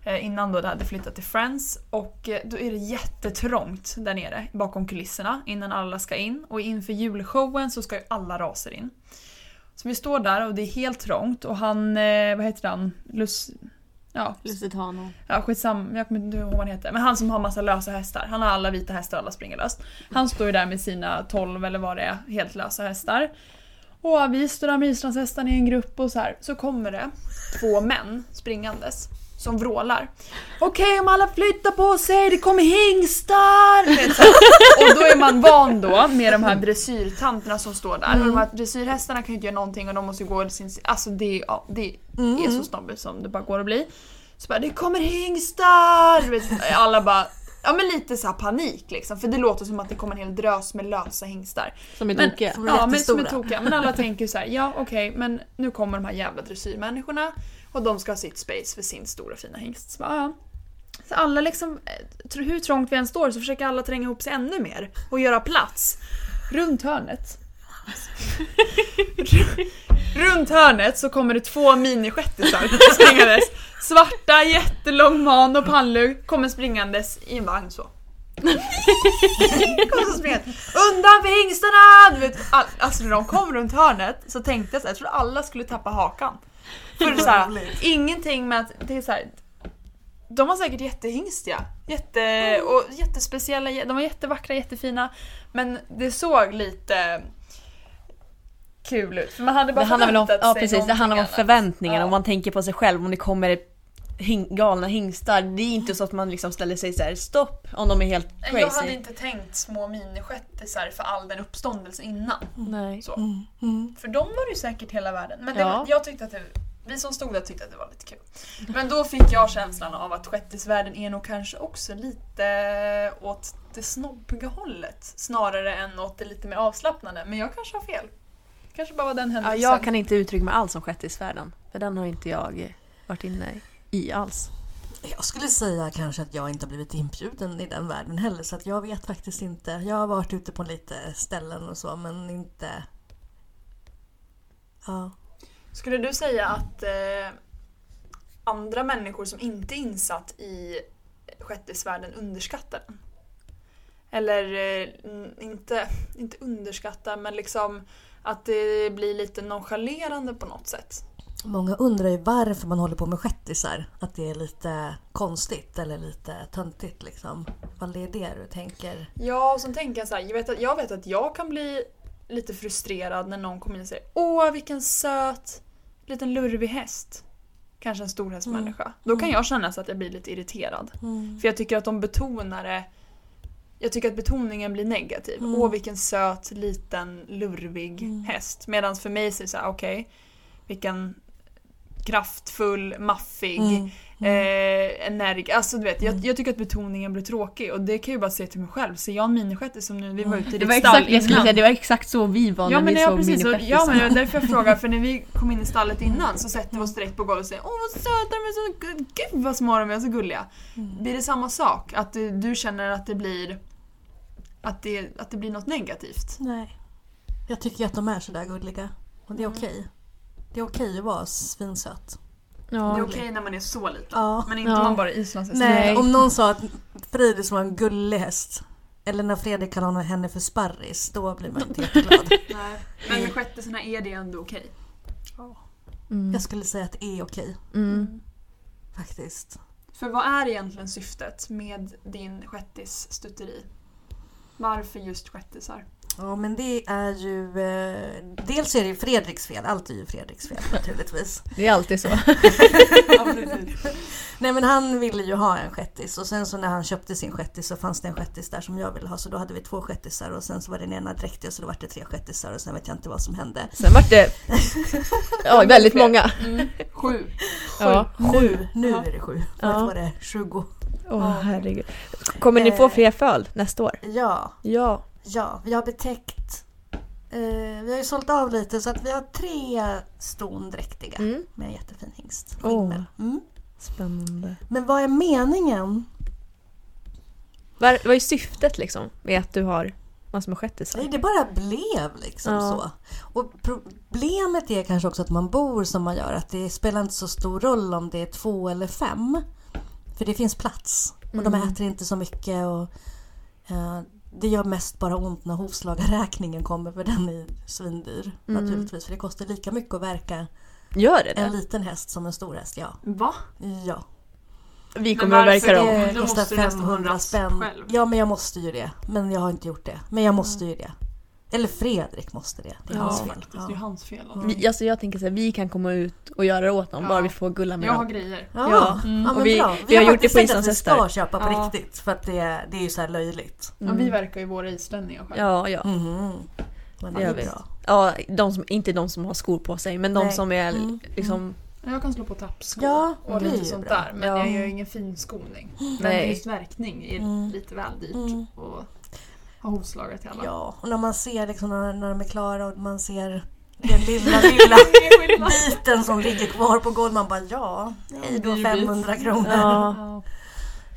Eh, innan då det hade flyttat till Friends och eh, då är det jättetrångt där nere bakom kulisserna innan alla ska in och inför julshowen så ska ju alla raser in. Så vi står där och det är helt trångt och han, eh, vad heter han, Lus... Ja, Lusitano. Ja, skitsam, jag kommer inte ihåg vad han heter. Men han som har massa lösa hästar. Han har alla vita hästar och alla springer löst. Han står ju där med sina 12 eller vad det är, helt lösa hästar. Och vi står där med islandshästarna i en grupp och så här. Så kommer det två män springandes som vrålar. Okej om alla flyttar på sig, det kommer hingstar! Du vet, så här. Och då är man van då med de här dressyrtanterna som står där. Och de här dressyrhästarna kan ju inte göra någonting och de måste ju gå sin... Alltså det, är- ja, det är så snobbigt som det bara går att bli. Så bara det kommer hingstar! Du vet, Alla bara Ja men lite så här panik liksom för det låter som att det kommer en hel drös med lösa hingstar. Som är Men- tokiga. Som är Ja men som är jättestora. tokiga. Men <laughs> alla tänker så här: ja okej men nu kommer de här jävla dressyrmänniskorna och de ska ha sitt space för sin stora fina hingst. Så, bara, ja. så alla liksom, eh, tr- hur trångt vi än står så försöker alla tränga ihop sig ännu mer och göra plats. Runt <laughs> hörnet. Runt hörnet så kommer det två minischettisar <laughs> springandes. Svarta, jättelång man och pannlugg kommer springandes i en vagn så. Kom så spred. Undan för hingstarna! Du vet, all, alltså när de kom runt hörnet så tänkte jag så här, jag trodde alla skulle tappa hakan. För det är så här, ingenting med att det är så här, de var säkert jättehingstiga. Jätte, och jättespeciella, jä- de var jättevackra, jättefina. Men det såg lite kul ut. För man hade Det bara handlar väl om, förväntat ja, sig precis, det handlar om någonting annat. förväntningar. Ja. Om man tänker på sig själv, om det kommer hing, galna hingstar. Det är inte så att man liksom ställer sig så här: stopp om de är helt Nej, crazy. Jag hade inte tänkt små minischettisar för all den uppståndelse innan. Nej. Så. Mm. För de var det ju säkert hela världen. Men det, Ja. jag tyckte att det, vi som stod där tyckte att det var lite kul. Men då fick jag känslan av att shettisvärlden är nog kanske också lite åt det snobbiga hållet. Snarare än åt det lite mer avslappnade. Men jag kanske har fel. Kanske bara var den Ja, händelsen. jag kan inte uttrycka mig alls om shettisvärlden. För den har inte jag varit inne i alls. Jag skulle säga kanske att jag inte har blivit inbjuden i den världen heller så att jag vet faktiskt inte. Jag har varit ute på lite ställen och så men inte... Ja. Skulle du säga att eh, andra människor som inte är insatt i shettisvärlden underskattar den? Eller eh, n- inte, inte underskattar men liksom att det blir lite nonchalerande på något sätt. Många undrar ju varför man håller på med shettisar. Att det är lite konstigt eller lite töntigt liksom. Vad är det du tänker? Ja, och sen tänker jag så här, jag vet, att, jag vet att jag kan bli lite frustrerad när någon kommer in och säger Åh vilken söt liten lurvig häst. Kanske en storhästmänniska. Då kan jag känna så att jag blir lite irriterad. För jag tycker att de betonar det Jag tycker att betoningen blir negativ. Mm. Åh vilken söt liten lurvig häst. Medan för mig så är det såhär, okej. vilken kraftfull, maffig, Mm. Eh, energ. Alltså du vet, jag, jag tycker att betoningen blir tråkig och det kan jag ju bara se till mig själv. Ser jag en minishetty som nu, vi var ute i Mm. Det var ditt stall exakt, jag skulle innan. säga, det var exakt så vi var Ja när men, vi ja, såg precis, och, ja men det minifestisarna. var därför <laughs> jag frågade, för när vi kom in i stallet innan så sätter vi oss direkt på golvet och säger Åh vad söta de är, så, gu- gud vad små de är, så gulliga. Mm. Blir det samma sak? Att du, du känner att det blir att det, att det blir något negativt? Nej. Jag tycker att de är sådär gulliga. Och det är okej. Det är okej att vara svinsöt. Det är Ja. okej när man är så liten. Ja. Men inte Ja. om man bara är islandshäst. Nej. Nej. Alltså, Om någon sa att Fridis var en gullig häst. Eller när Fredrik kallar henne för sparris. Då blir man inte jätteglad. Nej. Men med shettisarna är det ändå okej. Mm. Jag skulle säga att det är okej Mm. faktiskt. För vad är egentligen syftet med din shettis-stuteri? Varför just shettisar? Ja men det är ju... Eh, dels är det ju Fredriks fel, allt är ju Fredriks fel naturligtvis. Det är alltid så. Nej men han ville ju ha en shettis och sen så när han köpte sin shettis så fanns det en shettis där som jag ville ha så då hade vi två shettisar och sen så var den ena dräktig och så då var det tre shettisar och sen vet jag inte vad som hände. <laughs> Sen vart det ja, väldigt många. Mm. Sju. Ja. Sju, nu Ja. är det sju. Ja. Förut var det 20. Åh, herregud. Kommer ni få fler föl nästa år? Ja, Eh. Ja. ja, vi har betäckt. Eh, vi har ju sålt av lite så att vi har tre ston dräktiga Mm. med en jättefin hingst. Åh. Skimmel. Mm. Spännande. Men vad är meningen? Vad vad är syftet liksom med att du har massor med Nej, shettisar? det bara blev liksom Ja. så. Och problemet är kanske också att man bor som man gör. Att det spelar inte så stor roll om det är två eller fem. För det finns plats. Och Mm. de äter inte så mycket. Och, eh, det gör mest bara ont när hovslagarräkningen kommer. För den är svindyr Mm. naturligtvis. För det kostar lika mycket att verka Gör det en det? liten häst som en stor häst. Ja. Va? ja. Vi kommer att verka dem. det? Det Då kostar måste du nästan 500 hundra spänn. själv. Mm. Ja, men jag måste ju det. Men jag har inte gjort det. Men jag måste ju det. Eller Fredrik måste det. Det är Ja, hans fel. faktiskt. Det är ju Ja. hans fel. Vi, alltså jag tänker så här, vi kan komma ut och göra det åt dem Ja. bara vi får gulla med Jag har dem. grejer. Ja. Ja, ja. Mm. men Och vi- bra. vi har gjort det faktiskt på tänkt att Islands Vi hästar. ska köpa på Ja. riktigt för att det, det är ju så här löjligt. Ja, vi verkar ju våra islänningar själva. Ja, ja. Mhm. Men Det det gör är vi. bra. ja de som, inte de som har skor på sig men de Nej. som är Mm. liksom... Jag kan slå på tappskor Ja, och det är lite ju sånt bra. där. Men Ja. jag gör ingen finskoning. Men Nej. just verkning är Mm. lite väl dyrt. Mm. Och ha hovslagare till alla. Ja, och när man ser liksom när, när de är klara och man ser den lilla, <laughs> lilla Det är skillnad. biten som ligger kvar på golvet. Man bara ja, hej då dyr bit. 500 kronor Ja. Ja.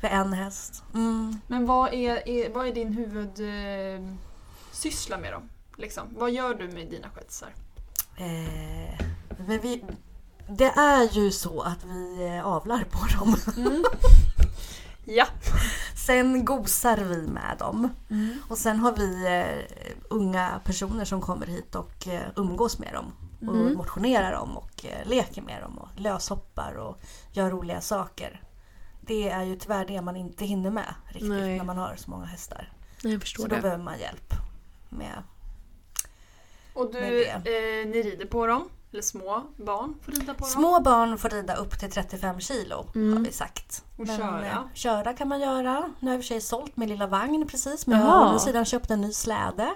för en häst. Mm. <laughs> Men vad är, är, vad är din huvudsyssla eh, syssla med dem? Liksom? Vad gör du med dina skötsar? Eh, men vi, det är ju så att vi eh, avlar på <laughs> dem. Ja. Sen gosar vi med dem. Mm. Och sen har vi eh, unga personer som kommer hit och eh, umgås med dem. Och Mm. motionerar dem och eh, leker med dem och löshoppar och gör roliga saker. Det är ju tyvärr det man inte hinner med riktigt Nej. när man har så många hästar. Nej, jag Så förstår då det. behöver man hjälp. Med. Och du, Med det. eh, ni rider på dem? Eller små barn får rida på dem? Små barn får rida upp till 35 kilo Mm. har vi sagt. Och köra. eh, köra kan man göra. Nu har jag i och för sig sålt min lilla vagn precis men jag Jaha. har å andra sidan köpt en ny släde.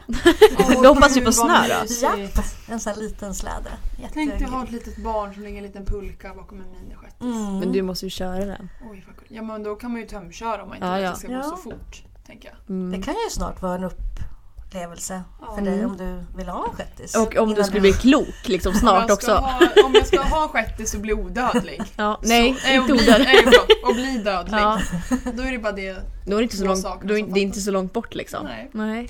Åh, <laughs> De hoppas ju på gud, vad snö då. mysigt. Japp, en sån här liten släde. Tänk dig ha Jättekul. ett litet barn som lägger en liten pulka bakom en miniskett. Mm. Men du måste ju köra den. Oj vad kul. Ja men då kan man ju tömköra om man inte Ja, vill ja. att det ska gå Ja. så fort. Tänker jag. Det kan ju snart vara en upplevelse för dig om du vill ha en shettis. Mm. Och om du Innan skulle bli klok <laughs> liksom om, snart jag ska också. ha, om jag ska ha en shettis och bli odödlig. Ja, <laughs> nej, så, eh, och inte bli, odödlig. nej, förlåt, och bli dödlig. Ja, Då är det bara det. då är det inte så Bra långt, saker då är som det inte så långt bort liksom. Nej.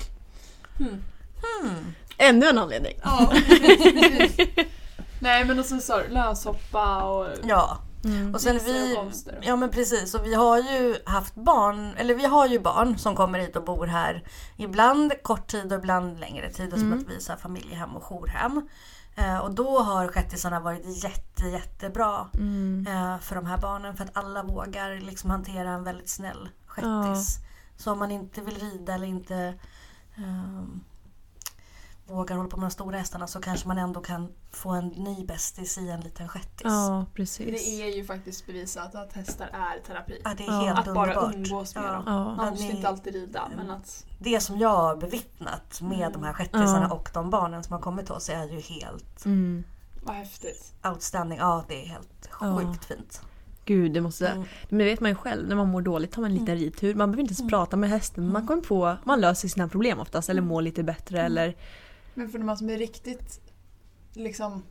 Hmm. Ännu en anledning. Ja, precis, precis. Nej men och sen så löshoppa och... Ja. Och sen Visar vi, Mm. och konster. ja men precis, och vi har ju haft barn, eller vi har ju barn som kommer hit och bor här. Ibland kort tid och ibland längre tid, Mm. som att vi så här familjehem och jourhem. Eh, och då har shettisarna varit jätte, jättebra Mm. eh, för de här barnen. För att alla vågar liksom hantera en väldigt snäll shettis. Så om man inte vill rida eller inte ehm, vågar hålla på med de stora hästarna så kanske man ändå kan få en ny bästis i en liten shettis. precis. Det är ju faktiskt bevisat att hästar är terapi. Ja, det är Ja. helt Att bara underbart. umgås med ja. dem. Ja. Man Ja, måste det- inte alltid rida men att... Det som jag har bevittnat med de här shettisarna Mm. Ja. och de barnen som har kommit till oss är ju helt Mm. Vad häftigt. outstanding. Ja, det är helt Ja. sjukt fint. Gud, det måste... Mm. Men det vet man ju själv, när man mår dåligt tar man en Mm. liten ridtur. Man behöver inte ens prata med hästen, men man kommer på... Man löser sina problem oftast, Mm. eller mår lite bättre eller... Men för de som är riktigt liksom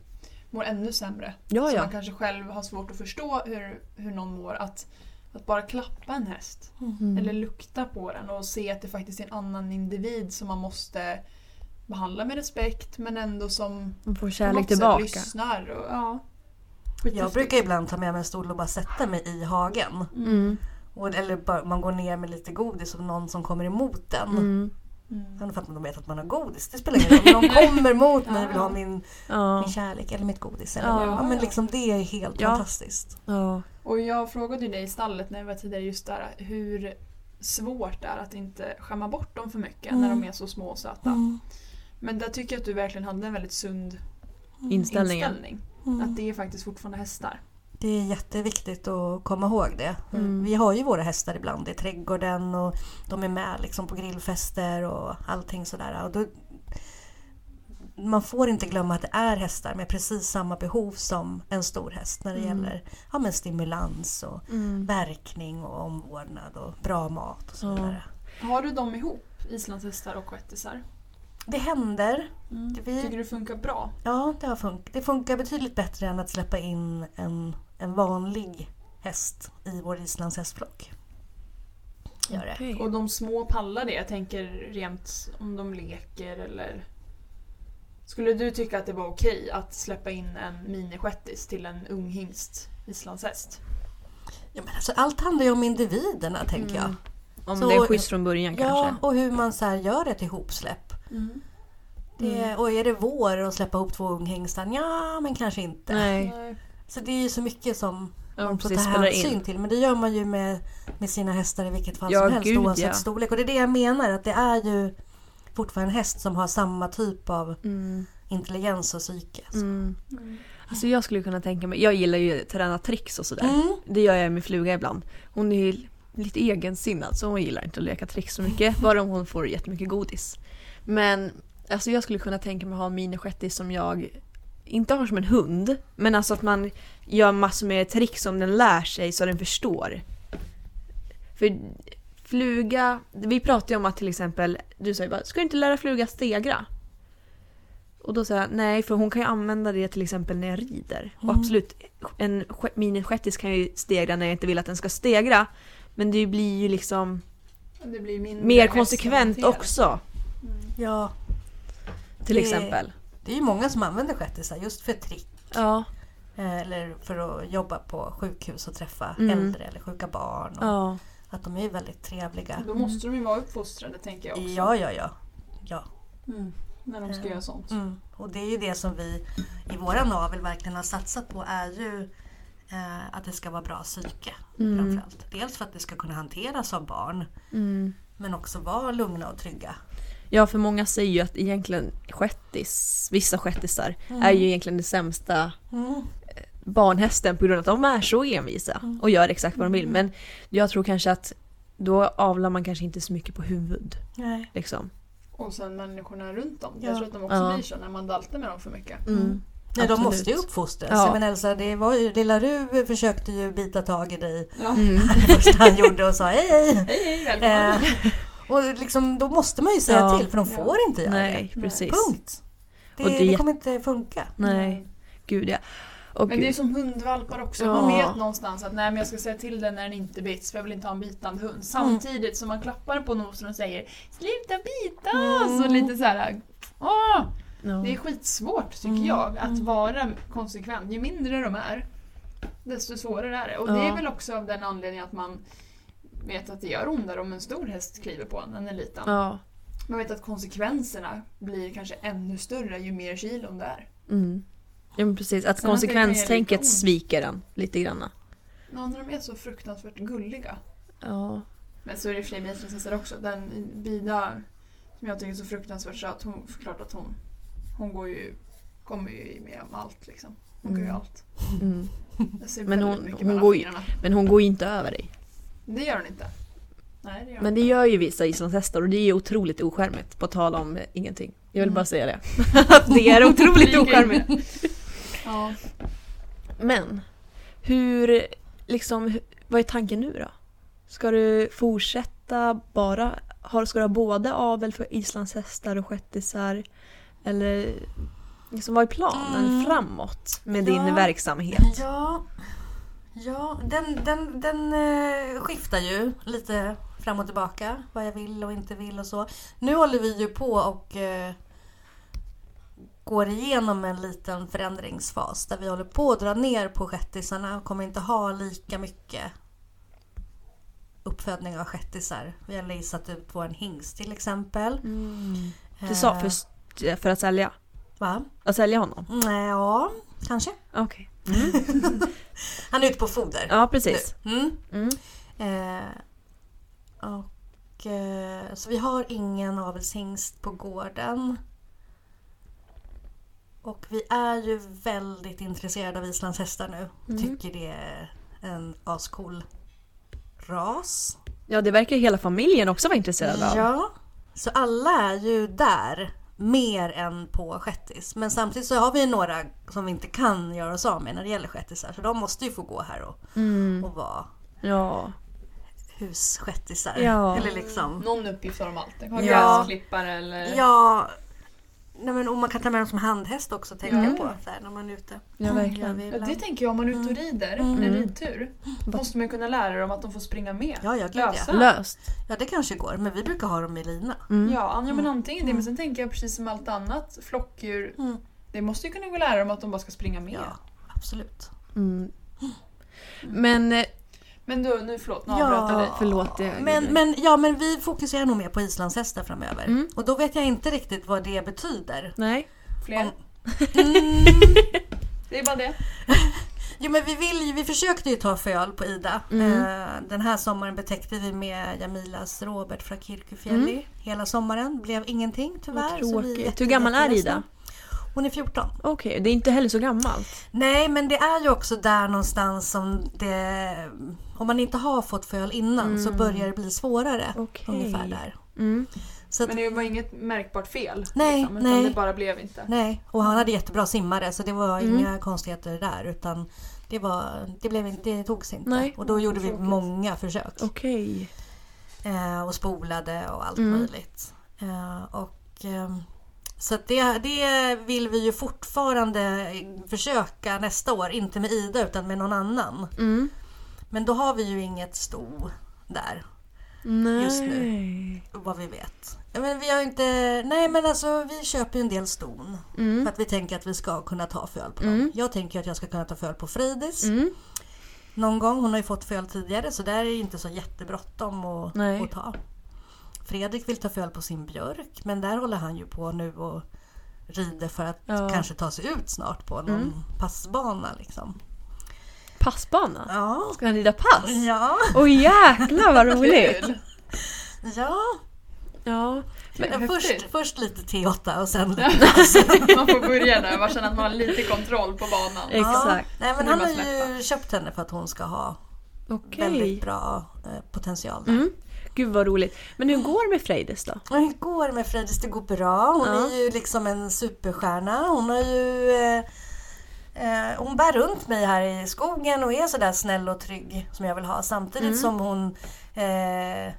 mår ännu sämre. Ja, Så ja. man kanske själv har svårt att förstå hur, hur någon mår. Att, att bara klappa en häst. Mm. Eller lukta på den och se att det faktiskt är en annan individ som man måste behandla med respekt men ändå som Man får på kärlek något sätt tillbaka. lyssnar. Och, ja. Jag Skithäftigt. brukar ibland ta med mig en stol och bara sätta mig i hagen. Mm. Och, eller bara, man går ner med lite godis och någon som kommer emot den. Mm. Sen för att de vet att man har godis, det spelar ingen roll. Om De <laughs> kommer mot mig och vill ha min, Ja. Mm. min kärlek eller mitt godis. Eller, Ja. ja. men liksom det är helt Ja. fantastiskt. ja. Och jag frågade ju dig i stallet när jag var tidigare just där hur svårt är att inte skämma bort dem för mycket när Mm. de är så små och söta. Men där tycker jag att du verkligen hade en väldigt sund Mm. Inställningen. inställning. Mm. Att det är faktiskt fortfarande hästar. Det är jätteviktigt att komma ihåg det. Vi har ju våra hästar ibland i trädgården och de är med liksom på grillfester och allting sådär. Och då, man får inte glömma att det är hästar med precis samma behov som en stor häst när det gäller ja, men stimulans och Mm. verkning och omvårdnad och bra mat och så Ja. vidare. Har du dem ihop, islandshästar och shettisar? Det händer. Mm. Vi, Tycker du det funkar bra? Ja, det, har fun- det funkar betydligt bättre än att släppa in en, en vanlig häst i vår Islands hästflock. Gör det. Okej. Och de små pallar det? Jag tänker rent om de leker eller... Skulle du tycka att det var okej att släppa in en minishettis till en ung hingst, islandshäst? Ja, men alltså, allt handlar ju om individerna tänker jag. Om Mm. Så- det är schysst från början Ja, Mm, kanske. och hur man så här gör ett ihopsläpp. Mm. Det, Och är det vår och släppa ihop två unghängstar? Ja, men kanske inte. Nej. Så det är ju så mycket som Ja, man får precis, ta spelar hänsyn in. till. Men det gör man ju med, med sina hästar i vilket fall Ja, som helst gud, oavsett ja. storlek. Och det är det jag menar att det är ju fortfarande en häst som har samma typ av intelligens och psyke. så. Mm. Alltså jag skulle kunna tänka mig, jag gillar ju att träna tricks och sådär. Mm. Det gör jag med fluga ibland. Hon är ju lite egensinnad så hon gillar inte att leka tricks så mycket. Bara om hon får jättemycket godis. Men alltså jag skulle kunna tänka mig att ha en minishettis som jag inte har som en hund. Men alltså att man gör massor med tricks som den lär sig så den förstår. För fluga, vi pratade ju om att till exempel, du sa ju bara ska du inte lära fluga stegra? Och då sa jag nej för hon kan ju använda det till exempel när jag rider. Och absolut, en ske- minishettis kan jag ju stegra när jag inte vill att den ska stegra. Men det blir ju liksom Det blir mindre mer häst konsekvent hanterat. också. Ja, Till Det- exempel. det är ju många som använder shettisar just för trick. Ja, eh, Eller för att jobba på sjukhus och träffa Mm. äldre eller sjuka barn. Och ja. Att de är ju väldigt trevliga. Då måste de ju vara uppfostrade tänker jag också. Ja, ja, ja. ja. Mm. När de ska göra sånt. Mm. Och det är ju det som vi i våran avel verkligen har satsat på är ju eh, att det ska vara bra psyke Mm. framförallt. Dels för att det ska kunna hanteras av barn Mm. men också vara lugna och trygga. Ja, för många säger ju att egentligen shettis, vissa shettisar är ju egentligen den sämsta eh, barnhästen på grund av att de är så envisa och gör exakt vad de vill. Men jag tror kanske att då avlar man kanske inte så mycket på huvud. Nej. Liksom. Och sen människorna runt dem. Jag Ja. tror att de också Ja. blir så när man daltar med dem för mycket. Mm. Nej, de Absolut. måste ju uppfostras. Ja. Jag menar, Elsa, det var ju, lilla Ru försökte ju bita tag i dig <laughs> Ja. Mm. det första han gjorde och sa hej hej. Hej hej, välkommen! Eh, och liksom, då måste man ju säga Ja. till för de Ja. får inte göra Nej, det. precis. Punkt. Det, Och det, det är jätte- kommer inte funka. Nej, gud ja. Och Men det är som hundvalpar också. Ja. Man vet någonstans att nej men jag ska säga till den när den inte bits för jag vill inte ha en bitande Mm. hund. Samtidigt som man klappar på nosen och säger Sluta bita Mm. oss! Och lite så här. Åh! ja. Det är skitsvårt tycker Mm. jag att vara konsekvent. Ju mindre de är desto svårare är det. Och det Ja. är väl också av den anledningen att man vet att det gör ondare om en stor häst kliver på en än en liten. Ja. Man vet att konsekvenserna blir kanske ännu större ju mer kilon det är. Mm. ja, men precis. Att Sen att det kan göra lite konsekvenstänket ont. sviker den lite granna. Ja, när de är så fruktansvärt gulliga. Ja. Men så är det i och för sig med islandshästar också. Den Bida som jag tycker är så fruktansvärt söt, hon förklart att hon, hon går ju, kommer ju med om allt liksom. Hon går ju allt. Mm. Jag ser Men väldigt hon- mycket hon mellan går ju- fingrarna. Men hon går ju inte över dig. Det gör hon inte. Nej, det gör hon Men det inte. gör ju vissa islandshästar och det är ju otroligt oskärmigt på tal om eh, ingenting. Jag Mm. vill bara säga det. <laughs> Att <laughs> det är otroligt oskärmigt. Ja. Men hur, liksom, hu- vad är tanken nu då? Ska du fortsätta bara, har, ska du ha både avel för islandshästar och shettisar? Eller liksom, vad är planen framåt med Mm. Ja. din verksamhet? Ja, ja den, den, den eh, skiftar ju lite fram och tillbaka. Vad jag vill och inte vill och så. Nu håller vi ju på och eh, går igenom en liten förändringsfas där vi håller på att dra ner på shettisarna och kommer inte ha lika mycket uppfödning av shettisar. Vi har leasat ut vår hingst till exempel. Du sa Eh, för, st- för att sälja? Va? Att sälja honom? Nej, ja, kanske. Okej. Han är ute på foder. Ja, precis. Mm. Mm. Eh, Och, eh, så vi har ingen avelshingst på gården. Och vi är ju väldigt intresserade av islandshästar nu. Tycker det är en ascool ras. Ja, det verkar ju hela familjen också vara intresserad av. Ja. Så alla är ju där mer än på shettis. Men samtidigt så har vi några som vi inte kan göra oss av med när det gäller shettisar. Så de måste ju få gå här och, och vara Mm. Ja. husshettisar. Ja. Eller liksom. Någon uppgift har de alltid. Har Ja. gräsklippare eller... Ja. Nej men, och man kan ta med dem som handhäst också tänker jag på. Så här, när man är ute. Mm. Ja, Gör verkligen. vi Ja, ibland. det tänker jag, om man är ute och rider, Mm. en ridtur, måste man ju kunna lära dem att de får springa med. Ja, ja, gud, ja. Lösa. Löst. Mm. Ja det kanske går. Men vi brukar ha dem i lina. Ja, ja, men antingen det, men sen tänker jag precis som allt annat, flockdjur, Mm. det måste ju kunna gå att lära dem att de bara ska springa med. Ja, absolut. Mm. Men, eh, Men du, nu förlåt, nu Ja. avbröt jag dig. förlåt. jag- Men, men, ja, men vi fokuserar nog mer på islandshästar framöver. Mm. Och då vet jag inte riktigt vad <laughs> det betyder. Nej. Fler? Om- Mm. Det är bara det. Jo men vi, vill, ju- vi försökte ju ta föl på Ida. Mm. Eh, Den här sommaren betäckte vi med Jamilas Robert från Kirkufjälli. Hela sommaren blev ingenting tyvärr. Mm. Vad så vi är tråkigt. jätte- Hur gammal är jätteledsna. Ida? Hon är 14. Okej, det är inte heller så gammalt. Nej men det är ju också där någonstans som det... Om man inte har fått föl innan så börjar det bli svårare. Okej. Ungefär där. Mm. Så att, Men det var inget märkbart fel. liksom. Nej, utan nej. det bara blev inte. Nej, och han hade jättebra simmare så det var inga konstigheter där utan det, var, det, blev, inte- det togs inte. Nej. Oh. Och då gjorde vi många försök. Okej. Eh, och spolade och allt möjligt. Eh, och, ehm, så att det, det vill vi ju fortfarande försöka nästa år. Inte med Ida utan med någon annan. Mm. Men då har vi ju inget sto där. Nej. Just Vad vi vet. Ja, Men vi har ju inte, nej men alltså vi köper ju en del ston. Mm. För att vi tänker att vi ska kunna ta föl på dem. Jag tänker att jag ska kunna ta föl på Fridis. Mm. Någon gång, hon har ju fått föl tidigare så där är det inte så jättebråttom att, Nej. att ta. Fredrik vill ta föl på sin björk men där håller han ju på nu och rider för att Ja. kanske ta sig ut snart på någon passbana liksom. Passbana? Ja. Ska han rida pass? Ja. Åh jäklar vad roligt! Kul! ja. Ja. Men först, häftigt. först lite T8 och <laughs> sen Man får börja där, man känner att man har lite kontroll på banan. Exakt. Ja. Sen Nej, men är han det har bara att ju köpt henne för att hon ska ha Okej. väldigt bra eh, potential. Där. Mm. Gud vad roligt. Men hur går det med Frejdis då? Och hur går det med Fredris? Det går bra. Hon Ja. är ju liksom en superstjärna. Hon har ju... Eh, eh, hon bär runt mig här i skogen och är sådär snäll och trygg som jag vill ha. Samtidigt Mm. som hon eh,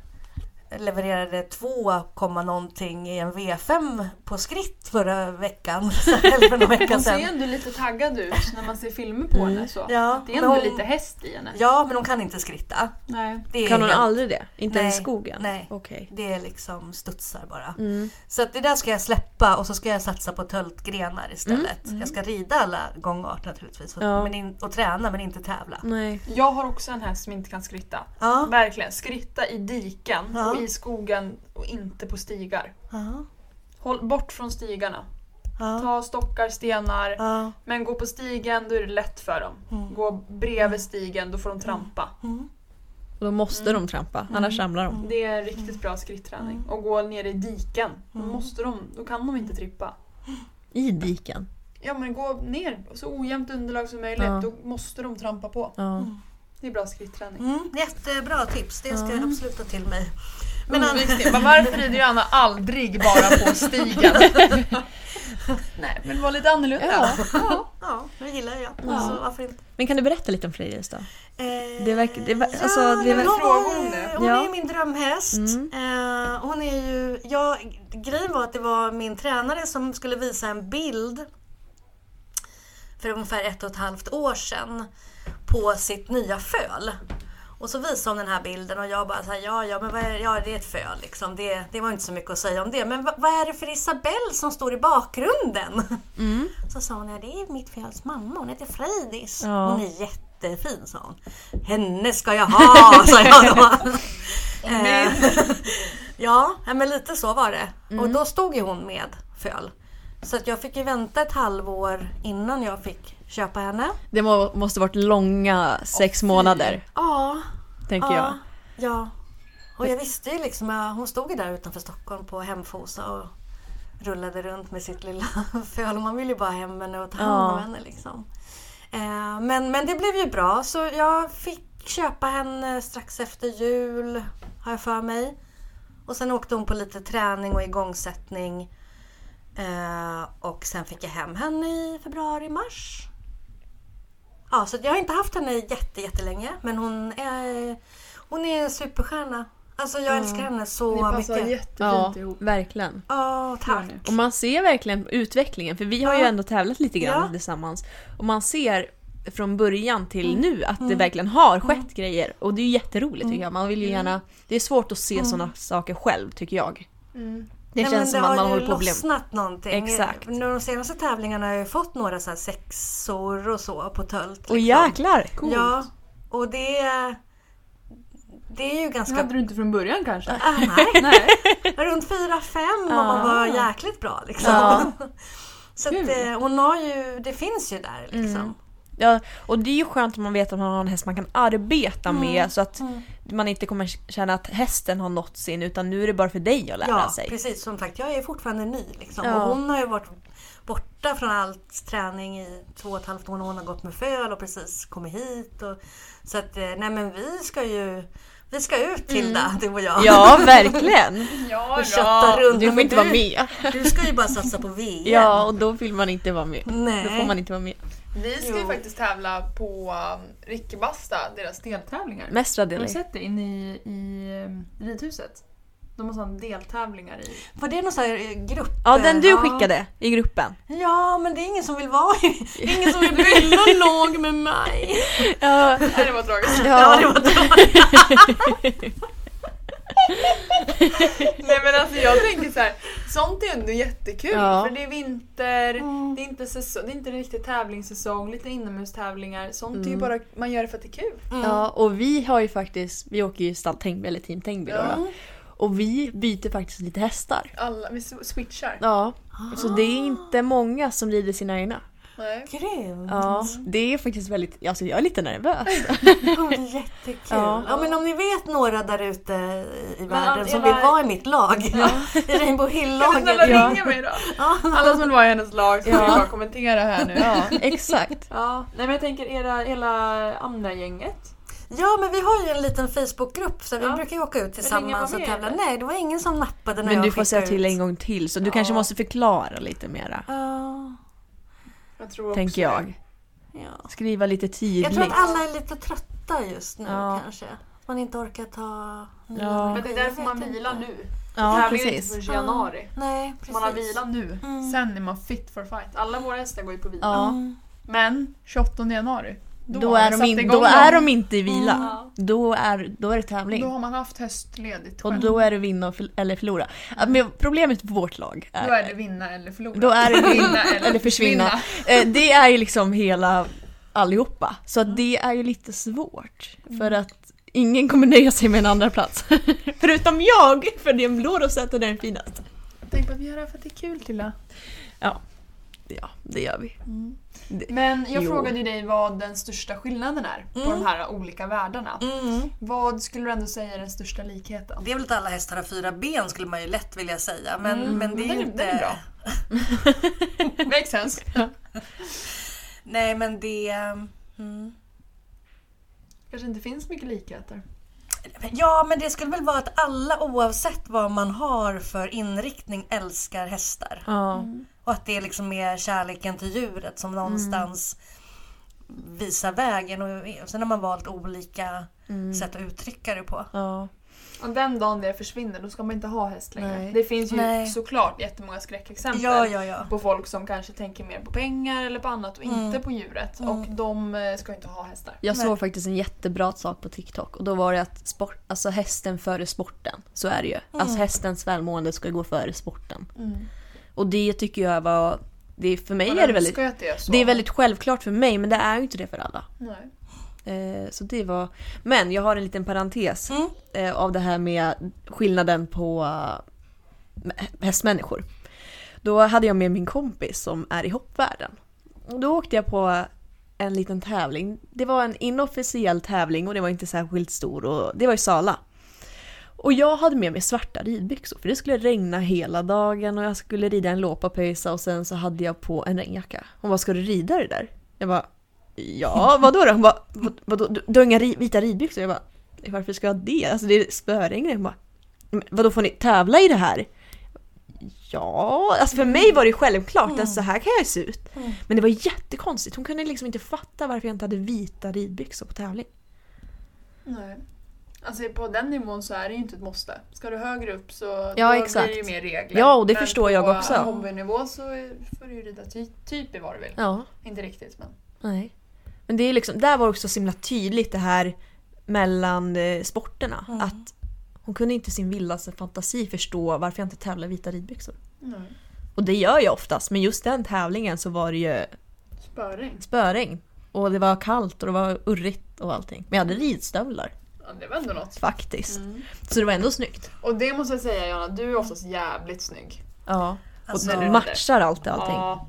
levererade 2, komma någonting i en V5 på skritt förra veckan. <laughs> Eller för någon vecka Hon ser ju sedan. ändå lite taggad ut när man ser filmer på henne. Så. Mm. Ja, Det är men ändå hon- lite häst i henne. Ja, men hon kan inte skritta. Nej. Det är Kan hon helt- aldrig det? Inte ens i Nej, skogen? nej. Okej. Det är liksom studsar bara. Mm. Så att det där ska jag släppa och så ska jag satsa på töltgrenar istället. Jag ska rida alla gångart naturligtvis och, Mm. Ja. men in, och träna men inte tävla. Nej. Jag har också en häst som inte kan skritta. Ja. Verkligen, skritta i diken Ja. och i skogen och inte på stigar. Ja. Håll bort från stigarna. Ja. Ta stockar, stenar. Ja. Men gå på stigen, då är det lätt för dem. Gå bredvid stigen, då får de trampa. Mm. Och då måste de trampa, annars ramlar de. Det är en riktigt bra skritträning. Och gå ner i diken, då, måste de, då kan de inte trippa. I diken. Ja men gå ner, så ojämnt underlag som möjligt, Ja. då måste de trampa på. Ja. Det är bra skritträning. Mm, jättebra tips, det ska jag absolut ta till mig. Men Men an- varför rider Johanna aldrig bara på stigen? Nej, men var lite annorlunda. Ja. ja, det gillar jag. Ja. Så varför inte? Men kan du berätta lite om Frejdis då? Eh, Det verkar- det ver- alltså, det nej, men verkar- hon- Fråga om det. Hon är Ja. Mm. ju min drömhäst. Eh, hon är ju, jag, grejen var att det var min tränare som skulle visa en bild för ungefär ett och ett halvt år sedan på sitt nya föl. Och så visade hon den här bilden och jag bara så här, ja, ja, men vad är, ja, det är ett föl liksom. Det, det var inte så mycket att säga om det. Men vad, vad är det för Isabelle som står i bakgrunden? <laughs> Så sa hon, ja, det är mitt föls mamma, hon heter Frejdis. Ja. Hon är jättefin, sa hon. Henne ska jag ha, <laughs> sa jag då. Eh, <laughs> ja, ja, men lite så var det. Och då stod ju hon med föl. Så att jag fick ju vänta ett halvår innan jag fick köpa henne. Det må, måste varit långa sex månader, Ja, tänker ja, jag. ja. Och jag visste ju liksom, ja, hon stod ju där utanför Stockholm på Hemfosa och rullade runt med sitt lilla <laughs> föl. Man vill ju bara hem henne och ta hand Ja. om henne liksom. Eh, men, men det blev ju bra så jag fick köpa henne strax efter jul, har jag för mig. Och sen åkte hon på lite träning och igångsättning. Eh, och sen fick jag hem henne i februari-mars. Ja, så jag har inte haft henne jätte, jättelänge men hon är, hon är en superstjärna. Alltså jag älskar henne Ni så passar mycket. jättefint Ja, ihop. verkligen. Ja, tack. Gör ni? Och man ser verkligen utvecklingen, för vi har ju Ja. ändå tävlat lite grann Ja. tillsammans. Och man ser från början till Mm. nu att det verkligen har skett grejer. Och det är ju jätteroligt tycker jag. Man vill ju Mm. gärna... Det är svårt att se sådana saker själv tycker jag. Det Mm. Nej, känns men som att har man ju håller på att bli... lossnat någonting. Exakt. Nu de senaste tävlingarna har jag ju fått några så här sexor och så på tölt. Och jäklar! Ja, och det, det är ju Det ganska... hade du inte från början kanske? Ah, <laughs> nej, Nej. runt 4-5 och man var jäkligt bra liksom. Ah. Ja. <laughs> Så att, eh, hon har ju, det finns ju där liksom. Mm, Ja, och det är ju skönt om man vet att man har en häst man kan arbeta Mm. med så att man inte kommer känna att hästen har nått sin utan nu är det bara för dig att lära Ja, sig. precis. Som sagt, jag är fortfarande ny. Liksom. Ja. Och hon har ju varit borta från allt träning i två och ett halvt år. Hon har gått med föl och precis kommit hit. Och, så att, eh, nej men vi ska ju vi ska ut Tilda, <laughs> du och jag. Mm. Ja, verkligen! Ja, Och kötta runt. Du Nej, får men inte vara med. Du ska ju bara satsa på VM. Ja, och då vill man inte vara med. Nej. Då får man inte vara med. Vi ska ju Jo. faktiskt tävla på um, Rickebasta, deras deltävlingar. Mesta Har du delen. sett det inne i, i eh, ridhuset? De har sådana deltävlingar i. Var det någon sån här eh, grupp? Ja, den du eh, skickade i gruppen. Ja, men det är ingen som vill vara <laughs> i- det är ingen som vill bilda lag med mig. Ja, <laughs> Nej, det var tragiskt. Ja, det var dåligt. Nej men alltså jag tänker så här, sånt är ändå jättekul Ja. för det är vinter, det, är inte säsong, det är inte riktigt tävlingssäsong, lite inomhustävlingar. Sånt är ju bara, man gör det för att det är kul. ja, och vi har ju faktiskt, vi åker ju stall Tengby, eller Team Tengby då, då. Och vi byter faktiskt lite hästar. Alla, vi s- switchar. Ja, så det är inte många som rider sina egna. Nej. Grymt. Ja, det är faktiskt väldigt, alltså jag är lite nervös. <laughs> Det kommer bli jättekul. Ja. Ja. men om ni vet några där ute i- i världen som Eva- vill vara i mitt lag, <laughs> i Rainbow Kan du snälla Hill-laget. Ja. ringa mig då? Alla som var i hennes lag så kan bara kommentera här nu. Ja, exakt. Ja, nej men jag tänker era, hela andra gänget. Ja, men vi har ju en liten Facebookgrupp så vi Ja. brukar ju åka ut ingen var tillsammans och med, tävla. eller? Nej, det var ingen som nappade när Men jag du får skickade säga till ut. en gång till så du kanske måste förklara lite mera. Ja, Jag tror också Tänker jag. ja. Skriva lite Jag tror att tydligt. alla är lite trötta just nu Ja. kanske. Att man inte orkar ta nya Ja. energier. Men det är därför Jag man vet vilar inte. nu. Ja, Tävlingen är inte precis. förrän i januari. Nej, precis. Man har vilat nu. Mm. Sen är man fit for fight. Alla våra hästar går ju på vila. Ja. Mm. Men 28 januari, då, Då har är, vi de satt in, igång då är dem. de inte i vila. Då, är, då är det Då tävling. har man haft höstledigt Och själv. då är det vinna och förl- eller förlora. Ja, Men problemet på vårt lag är, Då är det vinna eller förlora. då är det vinna Vinna eller eller försvinna. Eh, Det är ju liksom hela allihopa. Så att det är ju lite svårt. För att ingen kommer nöja sig med en andra plats. <laughs> Förutom jag, för den blå rosetten är den finaste. Tänk på att vi gör det här för att det är kul Tilla. Ja, det gör vi. Men jag Jo. Mm. frågade ju dig vad den största skillnaden är på de här olika världarna. Mm. Vad skulle du ändå säga är den största likheten? Det är väl att alla hästar har fyra ben skulle man ju lätt vilja säga. Men, men det är den är- ju Mm, inte... den Mm. är bra. <laughs> <laughs> Makes sense. Nej men det... Mm. kanske inte finns mycket likheter. Ja men det skulle väl vara att alla oavsett vad man har för inriktning älskar hästar. Ja. Och att det liksom är kärleken till djuret som Mm. någonstans visar vägen. Och sen har man valt olika Mm. sätt att uttrycka det på. ja. Och den dagen det försvinner då ska man inte ha häst längre. Nej. Det finns ju Nej. såklart jättemånga skräckexempel. Ja, ja, ja. på folk som kanske tänker mer på pengar eller på annat och inte Mm. på djuret. Och de eh, ska inte ha hästar. Jag såg faktiskt en jättebra sak på TikTok och då var det att sport, alltså hästen före sporten. Så är det ju. Alltså hästens välmående ska gå före sporten. Och det tycker jag var... Mm. Det, för mig Man är önskar det väldigt, ju att det är så. det är väldigt självklart för mig men det är ju inte det för alla. Nej. Eh, så det var... Men jag har en liten parentes Mm. eh, av det här med skillnaden på eh, hästmänniskor. Då hade jag med min kompis som är i hoppvärlden. Och Då åkte jag på en liten tävling. Det var en inofficiell tävling och det var inte särskilt stor och det var i Sala. Och jag hade med mig svarta ridbyxor för det skulle regna hela dagen och jag skulle rida en låpapöjsa och sen så hade jag på en regnjacka. Hon bara, ska du rida det där? Jag bara, ja vadå då? Hon bara, "Vad- vadå, du, du har inga ri- vita ridbyxor? Jag bara, varför ska jag ha det? Alltså det är spöregn. Hon bara, "Men vadå får ni tävla i det här? Ja, alltså för mig var det självklart att så här kan jag se ut. Men det var jättekonstigt, hon kunde liksom inte fatta varför jag inte hade vita ridbyxor på tävling. Nej. Alltså på den nivån så är det ju inte ett måste. Ska du högre upp så Ja, då exakt. blir det ju mer regler. Ja, och det förstår jag också. Men på hobbynivå så är- får du ju rida ty- typ i vad du vill. Ja, Inte riktigt men. nej. Men det är liksom, där var också så himla tydligt det här mellan eh, sporterna. Att hon kunde inte i sin vildaste fantasi förstå varför jag inte tävlar i vita ridbyxor. Nej. Och det gör jag oftast, men just den tävlingen så var det ju Spöring. spöregn. Och det var kallt och det var urrigt och allting. Men jag hade ridstövlar Ja, det var ändå något. faktiskt. Så det var ändå snyggt. Och det måste jag säga Jonna, du är oftast jävligt snygg. Ja. Alltså, och matchar allt och allting. Ja,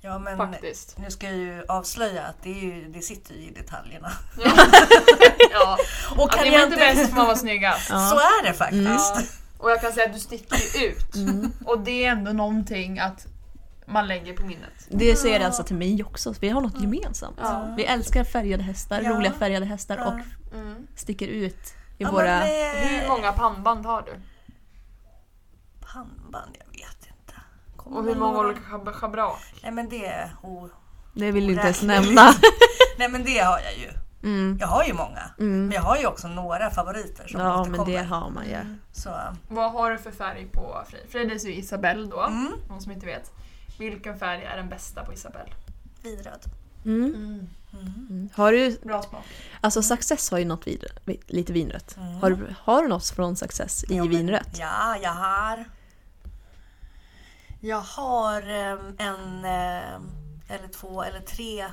Ja, men faktiskt. nu ska jag ju avslöja att det, är ju, det sitter ju i detaljerna. <laughs> Ja. Och Ja, kan det jag var inte inte... bäst för man var snyggast. Ja. Mm. Så är det faktiskt. <laughs> Ja. Och jag kan säga att du sticker ju ut. Och det är ändå någonting att man lägger på minnet. Det säger alltså till mig också, vi har något gemensamt. Ja. Vi älskar färgade hästar, Ja. roliga färgade hästar Ja. och Mm. sticker ut i Ja, våra... men det- Hur många pannband har du? Pannband, jag vet inte. Kommer Och hur väl många några. olika chab- schabrak? Nej men det... är o- Det vill du inte ens Oräkneligt. nämna. Nej men det har jag ju. Mm. Jag har ju många. Mm. Men jag har ju också några favoriter som Ja återkommer. men det har man ju. Så, Vad har du för färg på Frej? Fredrik är ju Isabelle då, mm, någon som inte vet. Vilken färg är den bästa på Isabelle? vidröd. Mm. Mm. Har du, Bra smak. alltså Success har ju något vid, vi- lite vinrött. Har, du, har du något från Success i vinrött? Ja, jag har... Jag har eh, en eh, eller två eller tre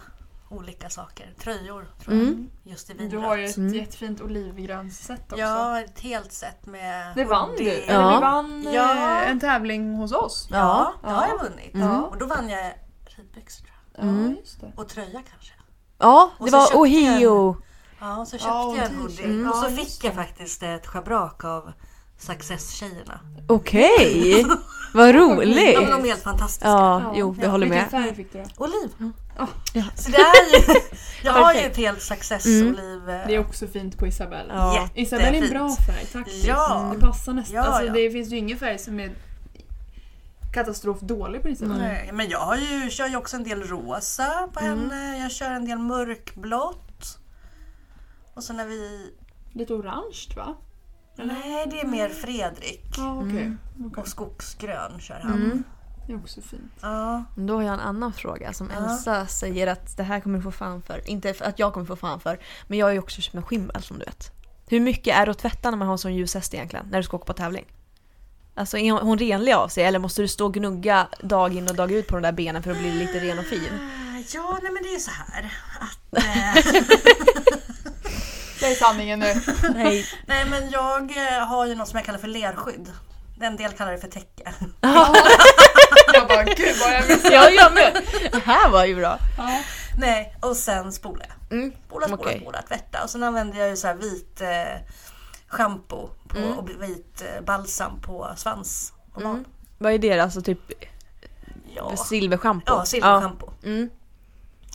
olika saker. Tröjor tror jag. Mm. Just i Du har ju vinrött. ett Mm. jättefint olivgrönt set också. Ja, ett helt set med... Det vann du! det- Eller Ja. du vann eh, Ja. en tävling hos oss. Ja, det har Ja. Mm. jag vunnit. Ja. Och då vann jag ridbyxor tror Ja, just det. jag. Och tröja kanske. Ja, Och det så var köpte jag en- Ohio. Ja, och så köpte Ja, och jag en t-shirt. hoodie. Mm. Och så Ja, just fick jag faktiskt ett schabrak av Success-tjejerna. Okej, vad <laughs> Ja, men roligt. de är helt fantastiska. Ja, jo vi Ja. Mm. håller Vilken med. färg fick du då? Oliv. Ja. Så det är ju, <laughs> jag har ju Perfekt. ett helt success Mm. oliv. eh, Det är också fint på Isabelle. Ja. Isabelle är en Jättefint. bra färg faktiskt. Ja. Det passar nästan. Ja, alltså, ja. Det finns ju ingen färg som är katastrof dålig på Isabelle. Nej, Men jag har ju, kör ju också en del rosa Mm. på henne. Jag kör en del mörkblått. Och så när vi... Lite orange va? Mm. Nej, det är mer Fredrik. Ja, okej. Och skogsgrön kör han. Mm. Det är också fint. Ja. Men Då har jag en annan fråga som Elsa säger att det här kommer du få fan för. Inte för att jag kommer få fan för, men jag har ju också köpt en skimmel som du vet. Hur mycket är det att tvätta när man har en sån ljus häst egentligen, när du ska åka på tävling? Alltså är hon renlig av sig eller måste du stå och gnugga dag in och dag ut på de där benen för att bli lite ren och fin? <laughs> Eh, Ja, nej men det är ju så här. Säg sanningen <laughs> nu. Nej. Nej men jag eh, har ju något som jag kallar för lerskydd. En del kallar det för täcke. <laughs> Jag bara, gud vad jag missade. Ja, jag med! Det här var ju bra. Nej, och sen spolar jag. Mm. Spola, spola, Okej. spola, tvätta. Och sen använder jag ju så här vit eh, shampoo på, och vit eh, balsam på svans och barn. Vad är det Alltså typ Ja, silverschampo? ja silverschampo. Ja. Mm.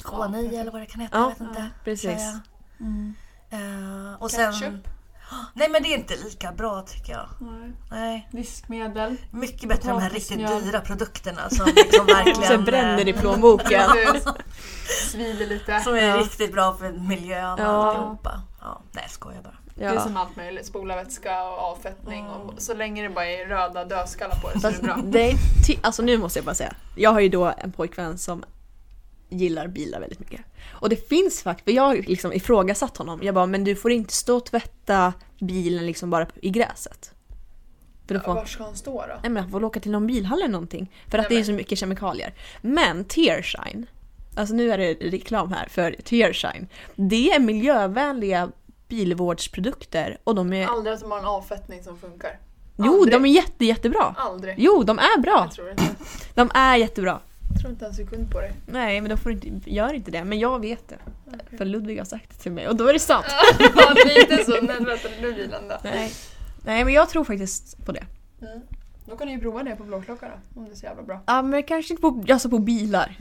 K9 eller vad det kan heta, Ja, jag vet inte. precis. Kör Mm. jag. Eh, och sen, nej men det är inte lika bra tycker jag. Nej. Nej, Diskmedel. mycket bättre än de här riktigt Potatismjöl. dyra produkterna <laughs> som liksom verkligen... Sen bränner <laughs> i plånboken. Svider eh, lite. Som är Ja. riktigt bra för miljön och Ja. alltihopa. Ja, nej jag skojar bara. Det är Ja. som allt möjligt. Spola vätska och avfettning. Och så länge det bara är röda dödskallar på det så är det bra. Det är ty- alltså nu måste jag bara säga, jag har ju då en pojkvän som gillar bilar väldigt mycket. Och det finns faktiskt, för jag har liksom ifrågasatt honom, jag bara men du får inte stå och tvätta bilen liksom bara i gräset. För då får han, Var ska hon stå då? nej men han får väl åka till någon bilhall eller någonting. För att det Nej, är så mycket kemikalier. Men Tearshine, alltså nu är det reklam här för Tearshine. Det är miljövänliga bilvårdsprodukter och de är, Aldrig att de har en avfettning som funkar. Eh. jo de är jätte, jättebra. Aldrig. Jo de är bra, Jag tror inte. de är jättebra. Jag tror inte en sekund på det. Nej men då får du inte, gör inte det. Men jag vet det. <laughs> För Ludvig har sagt det till mig och då är det sant. Ja, lite så. När tvättade du bilen då? Mm. Nej. Nej men jag tror faktiskt på det. Då kan ni ju prova det på Blåklocka då, om det är så jävla bra. Ja men kanske inte på, alltså på bilar.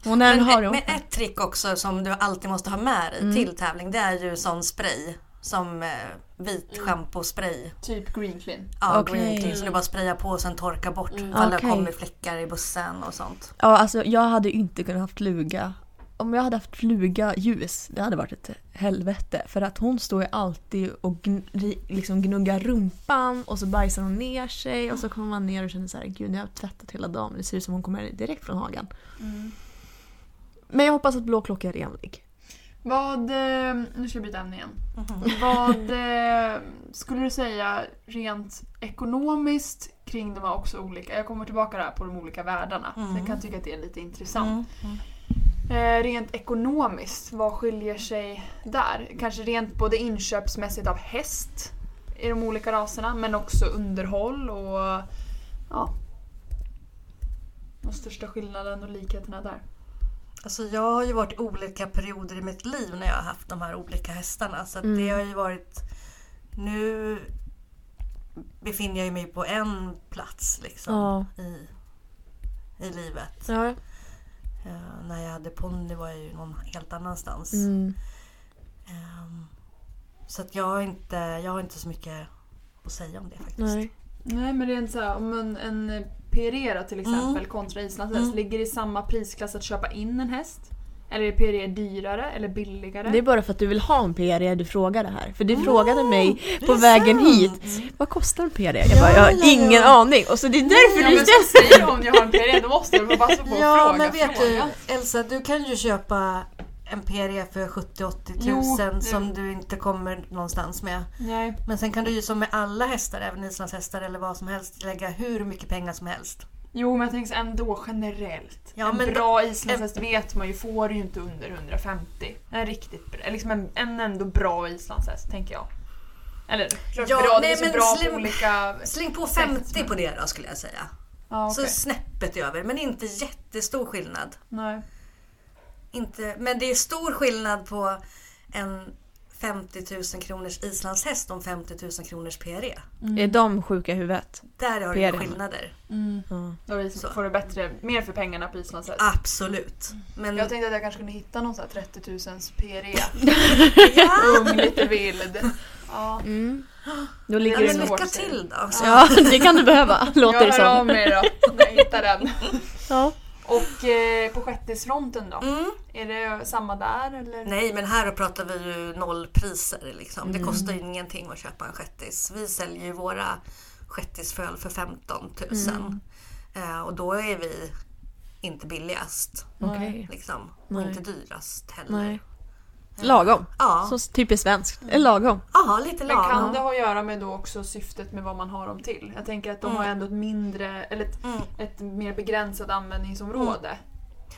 Och när Men, men, har men det. ett trick också som du alltid måste ha med Mm. dig till tävling det är ju sån spray. Som eh, vit schampospray. Typ Green Clean. Ja, Okej. green clean. Så du bara sprayar på och sen torkar bort. Ifall det Okej. har kommit fläckar i bussen och sånt. Ja alltså jag hade ju inte kunnat haft fluga. Om jag hade haft fluga ljus, det hade varit ett helvete. För att hon står ju alltid och gn- liksom gnuggar rumpan och så bajsar hon ner sig och så kommer man ner och känner så här, gud jag har tvättat hela dagen. Det ser ut som hon kommer direkt från hagen. Mm. Men jag hoppas att blå klocka är renlig. Vad, eh, nu ska jag byta ämne igen. Mhm. Vad eh, skulle du säga rent ekonomiskt kring de här också olika, jag kommer tillbaka där på de olika världarna, för jag Mm. kan tycka att det är lite Mm. intressant. Eh, rent ekonomiskt, vad skiljer sig där? Kanske rent både inköpsmässigt av häst i de olika raserna, men också underhåll och ja. De största skillnaden och likheterna där. Alltså jag har ju varit i olika perioder i mitt liv när jag har haft de här olika hästarna. Så att det Mm. har ju varit... Nu befinner jag ju mig på en plats liksom Ja. i, i livet. Ja. Eh, när jag hade ponny var jag ju någon helt annanstans. Mm. Ehm, så att jag har, inte, jag har inte så mycket att säga om det faktiskt. Nej. Nej men rent såhär, om en, en PRE då till exempel kontra islandshäst, ligger det i samma prisklass att köpa in en häst? Eller är PRE dyrare eller billigare? Det är bara för att du vill ha en PRE du frågar det här. För du frågade mig på vägen hit, vad kostar en PRE? Jag bara, jag har ingen aning. Och så det är därför Ja, du men ställer... så säger jag om jag har en PRE, då måste jag väl bara passa på att Ja fråga. men vet fråga. du Elsa, du kan ju köpa en PRE för 70-80 tusen Jo, som du inte kommer någonstans med. Nej. Men sen kan du ju som med alla hästar, även islandshästar eller vad som helst, lägga hur mycket pengar som helst. Jo men jag tänker så här, ändå generellt. Ja, en men bra islandshäst vet man ju får ju inte under 150. En riktigt bra, liksom en, en ändå bra islandshäst tänker jag. Eller klart Ja, bra, nej, det är men så bra slim- på olika... Släng på 50 på det då skulle jag säga. Ja, okej. Så snäppet över, men inte jättestor skillnad. Nej. Inte, men det är stor skillnad på en 50 000 kronors islandshäst och en 50 000 kronors PRE. Mm, Är de sjuka i huvudet? Där har PRE. du skillnader. Mm. Då har vi- Så. får du bättre, mer för pengarna på islandshäst. Absolut. Men Jag tänkte att jag kanske kunde hitta någon sån här 30 000 PRE. <laughs> Ung, E. lite vild. Ja. Mm. Då Ja, ligger Ja, det men nog- lycka till då. Så. Ja, <laughs> det kan du <laughs> behöva, låter det Jag hör av som. mig då när jag hittar den. Ja. Och eh, på sjättisfronten då? Mm. Är det samma där eller? Nej, men här pratar vi ju nollpriser. Liksom. Det Mm. kostar ju ingenting att köpa en shettis. Vi säljer ju våra shettisföl för 15 000. Mm. Eh, och då är vi inte billigast Okej. liksom. och Nej. inte dyrast heller. Nej. Lagom. Ja. Så typiskt svenskt. Eller lagom. ja, lite Men kan lagom. det ha att göra med då också syftet med vad man har dem till? Jag tänker att de har ändå ett mindre, eller ett, Mm. ett mer begränsat användningsområde.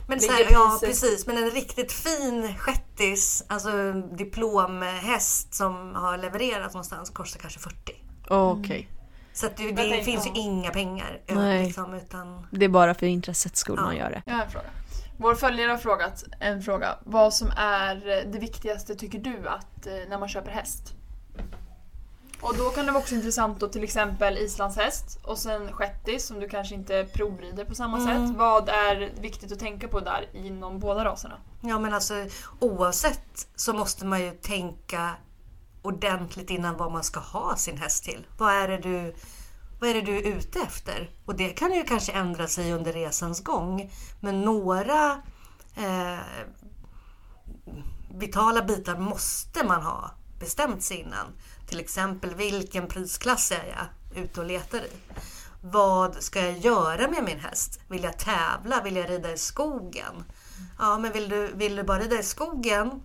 Men så här, Ligger ja, priset- precis. Men en riktigt fin shettis, alltså en diplomhäst som har levererats någonstans kostar kanske 40. Okej. Så att det, det tänker finns ju jag. inga pengar. Nej. Liksom, utan, Det är bara för intressets skull man gör det. Jag har en fråga. Vår följare har frågat en fråga. Vad som är det viktigaste tycker du att eh, när man köper häst? Och då kan det vara också intressant då till exempel islandshäst och sen shettis som du kanske inte provrider på samma sätt. Vad är viktigt att tänka på där inom båda raserna? ja, men alltså, oavsett så måste man ju tänka ordentligt innan vad man ska ha sin häst till. Vad är det du, vad är, det du är ute efter? Och det kan ju kanske ändra sig under resans gång. Men några eh, vitala bitar måste man ha bestämt sig innan. Till exempel vilken prisklass är jag ute och letar i? Vad ska jag göra med min häst? Vill jag tävla? Vill jag rida i skogen? Ja, men vill du, vill du bara rida i skogen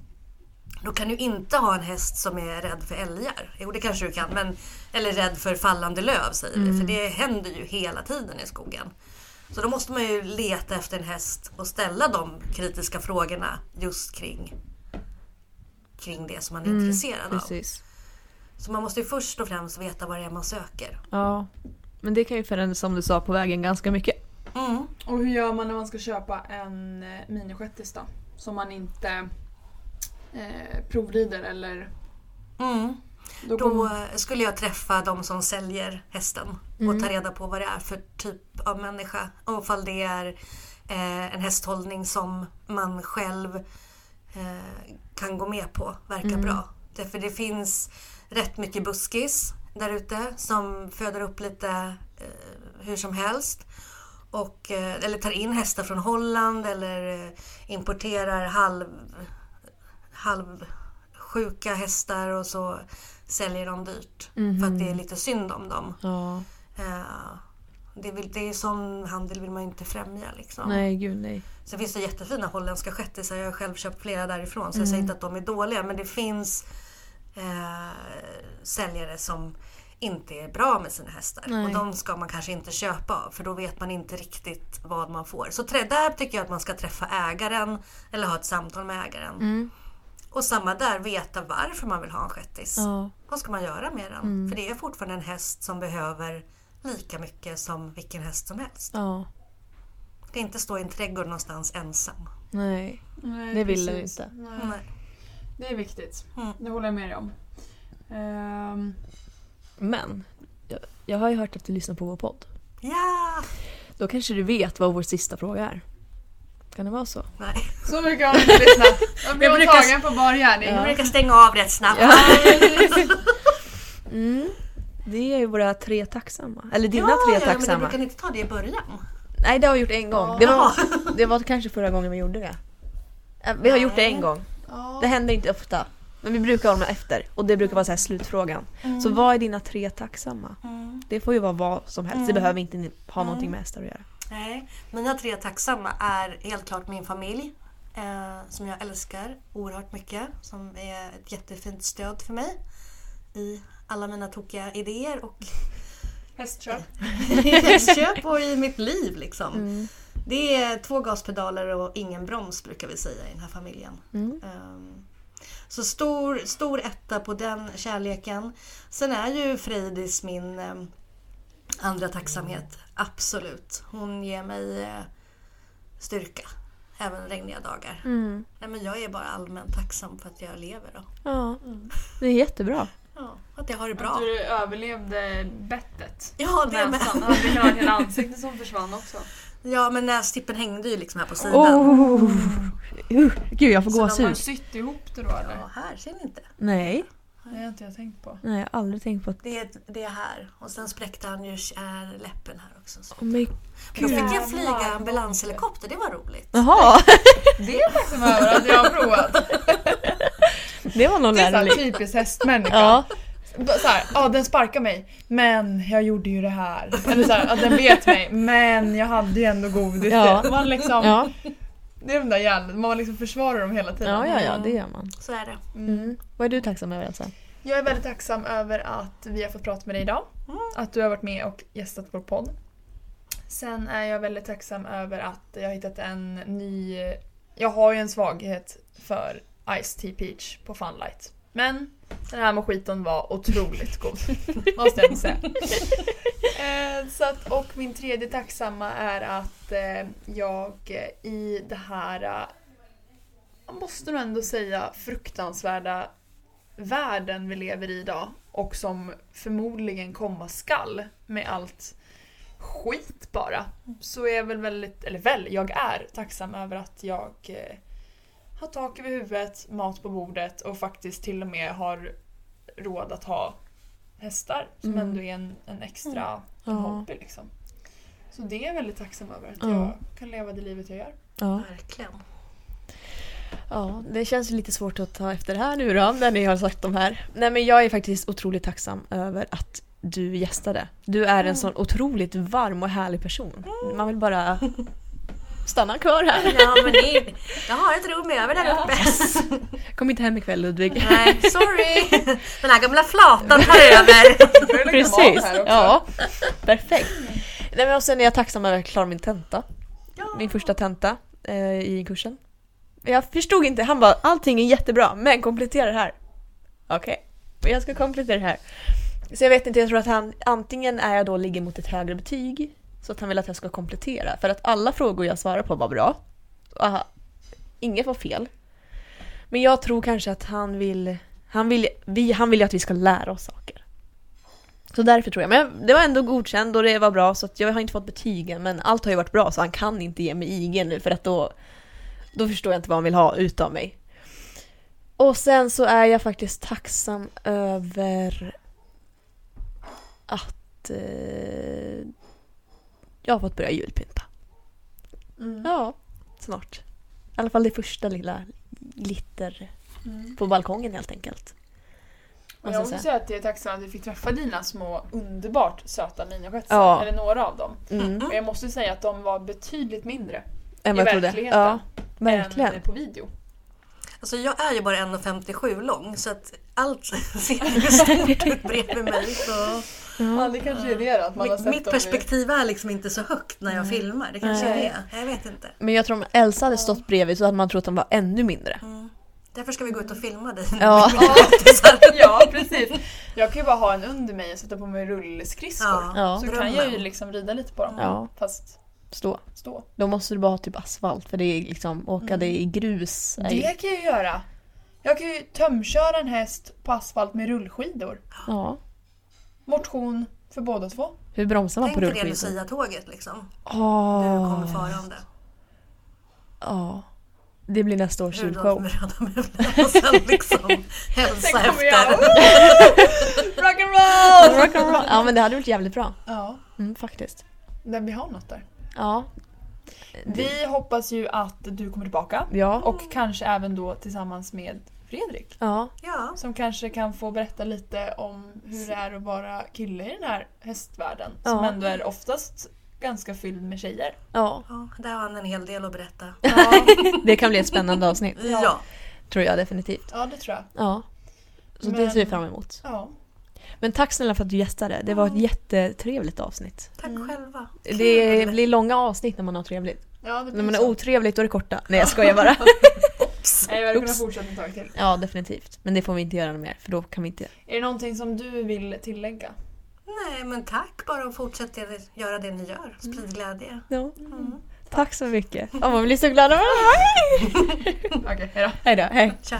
då kan du inte ha en häst som är rädd för älgar. Jo, det kanske du kan, men, eller rädd för fallande löv säger vi, för det händer ju hela tiden i skogen. Så då måste man ju leta efter en häst och ställa de kritiska frågorna just kring, kring det som man är intresserad av. Precis. Så man måste ju först och främst veta vad det är man söker. Ja. Men det kan ju förändras som du sa på vägen ganska mycket. Mm. Och hur gör man när man ska köpa en eh, minishettis då? Som man inte provrider eller... Mm. eh, Då Då kommer, eh, skulle jag träffa de som säljer hästen och Mm. ta reda på vad det är för typ av människa. Och ifall det är eh, en hästhållning som man själv eh, kan gå med på verkar Mm. bra. Därför det finns rätt mycket buskis där ute som föder upp lite eh, hur som helst. Och, eh, eller tar in hästar från Holland eller eh, importerar halv halvsjuka hästar och så säljer de dyrt för att det är lite synd om dem. Ja. Eh, Det är, väl- det är sån handel vill man ju inte främja. Liksom. Nej, gud nej. Sen finns det jättefina holländska shettisar. Jag har själv köpt flera därifrån så Mm. jag säger inte att de är dåliga men det finns eh, säljare som inte är bra med sina hästar. Nej. Och de ska man kanske inte köpa av för då vet man inte riktigt vad man får. Så trä- där tycker jag att man ska träffa ägaren eller ha ett samtal med ägaren. Mm. Och samma där, veta varför man vill ha en shettis. Ja. Mm. Vad ska man göra med den? För det är fortfarande en häst som behöver lika mycket som vilken häst som helst. Ja. Det är inte stå i en trädgård någonstans ensam. Nej. nej, det vill vi precis. inte. Nej. Nej. Det är viktigt. Mm. Det håller jag med dig om. Ehm, Men. Jag, jag har ju hört att du lyssnar på vår podd. Ja! Då kanske du vet vad vår sista fråga är. Kan det vara så? Nej. så mycket <laughs> har du inte lyssnat. Jag blev Jag brukar- tagen på bar gärning. Jag brukar stänga av rätt snabbt. <laughs> Ja. <laughs> Mm. Det är ju våra tre tacksamma. Eller dina Ja, tre ja, men jag tacksamma. brukar ni inte ta det i början. Nej, det har vi gjort en gång. Det var, det var kanske förra gången vi gjorde det. Eh, Vi har gjort det en gång. Ja. Det händer inte ofta. Men vi brukar hålla med efter. Och det brukar vara så här slutfrågan. Så vad är dina tre tacksamma? Det får ju vara vad som helst. Det behöver inte ha någonting med hästar att göra. Nej. Mina tre tacksamma är helt klart min familj. Eh, som jag älskar oerhört mycket. Som är ett jättefint stöd för mig. I alla mina tokiga idéer och <laughs> Hästköp. hästköp och i mitt liv liksom. Mm. Det är två gaspedaler och ingen broms brukar vi säga i den här familjen. Ehm, så stor, stor etta på den kärleken. Sen är ju Frejdis min ehm, andra tacksamhet, absolut. Hon ger mig eh, styrka, även regniga dagar. Mm. Nej, men jag är bara allmänt tacksam för att jag lever och Ja, Mm. det är jättebra. ja, att jag har det Att bra. du överlevde bettet. Ja, det med. Näsan. Ja, Det kan vara hela ansiktet som försvann också. <laughs> Ja, men nästippen hängde ju liksom här på sidan. Oh. Uh, gud, jag får Så de har ju gåshud. sytt ihop det då eller? Ja, här ser ni inte. Nej, Det har inte jag tänkt på. nej, jag har aldrig tänkt på att... Det är, det är här. Och sen spräckte han ju eh, läppen här också. Så. Oh my... Då fick jag Jävlar. flyga ambulanshelikopter, det var roligt. Jaha, Det är jag tacksam över att jag har provat. <laughs> det var någon Det är såhär lärare. typiskt hästmänniska. Ja, Såhär, ja "Ah, den sparkar mig, men jag gjorde ju det här. Eller såhär, ja den bet mig, men jag hade ju ändå godis. Ja. Man liksom, ja, Det är de där hjärnan, man liksom försvarar dem hela tiden. ja, ja, ja det gör man. Så är det. Mm. Vad är du tacksam över Elsa? Jag är väldigt tacksam över att vi har fått prata med dig idag. Att du har varit med och gästat vår podd. Sen är jag väldigt tacksam över att jag har hittat en ny... Jag har ju en svaghet för Ice Tea Peach på Funlight. Men den här mojiton var otroligt god. Måste jag ändå säga. Eh, Så att, och min tredje tacksamma är att eh, jag eh, i det här, eh, jag måste nog ändå säga, fruktansvärda världen vi lever i idag och som förmodligen komma skall med allt skit bara. Så är jag väl väldigt, eller väl, jag är tacksam över att jag eh, har tak över huvudet, mat på bordet och faktiskt till och med har råd att ha hästar som Mm. ändå är en, en extra Ja. en hobby liksom. Så det är jag väldigt tacksam över, att Ja. jag kan leva det livet jag gör. Ja. Verkligen. Ja, det känns ju lite svårt att ta efter det här nu då, när ni har sagt de här. Nej men jag är faktiskt otroligt tacksam över att du gästade. Du är en sån otroligt varm och härlig person. Man vill bara stanna kvar här. Ja, men ni, jag har ett rum över där uppe. Kom inte hem ikväll Ludvig. Nej, sorry. Den här gamla flatan tar över. Precis, ja. Perfekt. Nej men och sen är jag tacksam över att jag klarade min tenta. Min första tenta eh, i kursen. Jag förstod inte, han bara allting är jättebra men komplettera det här. Okej, men jag ska komplettera det här. Så jag vet inte, jag tror att han antingen är jag då ligger mot ett högre betyg så att han vill att jag ska komplettera för att alla frågor jag svarade på var bra. Aha, inget var fel. Men jag tror kanske att han vill Han vill, vi, han vill ju att vi ska lära oss saker. Så därför tror jag. Men jag- det var ändå godkänd och det var bra så att jag har inte fått betygen men allt har ju varit bra så han kan inte ge mig IG nu för att då, då förstår jag inte vad han vill ha utav mig. Och sen så är jag faktiskt tacksam över att eh, jag har fått börja julpynta. Mm. Ja, snart. I alla fall det första lilla glitter Mm. på balkongen helt enkelt. Och Måste jag jag måste säga. säga att jag är tacksam att vi fick träffa dina små underbart söta miniskötsar. Ja. Eller några av dem. Mm, Och jag måste säga att de var betydligt mindre än i vad jag trodde. verkligheten Ja, verkligen. än på video. Alltså jag är ju bara 1,57 lång så att allt <laughs> ser ju stort ut bredvid mig. Så Ja, det kanske är det då, att man har mitt, sett mitt dem i- <laughs> perspektiv är liksom inte så högt när jag filmar. Det kanske Nej. är det. Jag vet inte. Men jag tror om Elsa hade stått bredvid så hade man trott att den var ännu mindre. Mm. Därför ska vi gå ut och filma dig. nu. Ja. Ja, precis. Jag kan ju bara ha en under mig och sätta på mig rullskridskor. Ja. Ja. Så kan jag ju liksom rida lite på dem. Ja, Fast stå. stå. Då måste du bara ha typ asfalt för det är liksom åka det Mm. i grus. Det kan jag ju göra. Jag kan ju tömköra en häst på asfalt med rullskidor. Ja. Motion för båda två. Hur bromsar man Tänk på dig det rullskidor? Lucia-tåget liksom. Du Åh, kommer farande. ja. Det blir nästa års Rudolf julshow. <laughs> med röda mulen och sen <laughs> liksom hälsa kommer jag. efter. Rock'n'roll! Rock'n'roll. Ja men det hade varit jävligt bra. Ja, Mm, faktiskt. där vi har något där. Ja. Vi hoppas ju att du kommer tillbaka. Ja. Och kanske även då tillsammans med Fredrik. ja. Ja, Som kanske kan få berätta lite om hur det är att vara kille i den här hästvärlden. Som Ja. ändå är oftast ganska fylld med tjejer. Ja. ja, där har han en hel del att berätta. Ja, Det kan bli ett spännande avsnitt. Ja, Tror jag definitivt. ja det tror jag. Ja. Så det Men- ser vi fram emot. Ja. Men tack snälla för att du gästade. Det var ett jättetrevligt avsnitt. tack själva. Det Kul. blir långa avsnitt när man har trevligt. Ja, det När blir man är så. otrevligt då är det korta. Nej jag skojar bara. Nej, Jag hade kunnat Oops. fortsätta ett tag till. <laughs> Ja definitivt. Men det får vi inte göra mer för då kan vi inte. Är det någonting som du vill tillägga? Nej, men tack bara och fortsätt det- göra det ni gör. Sprid glädje. Ja. Tack så mycket. Ja, man blir så glad av det här. <laughs> Okej, hejdå. Hej då. Hej. Tja.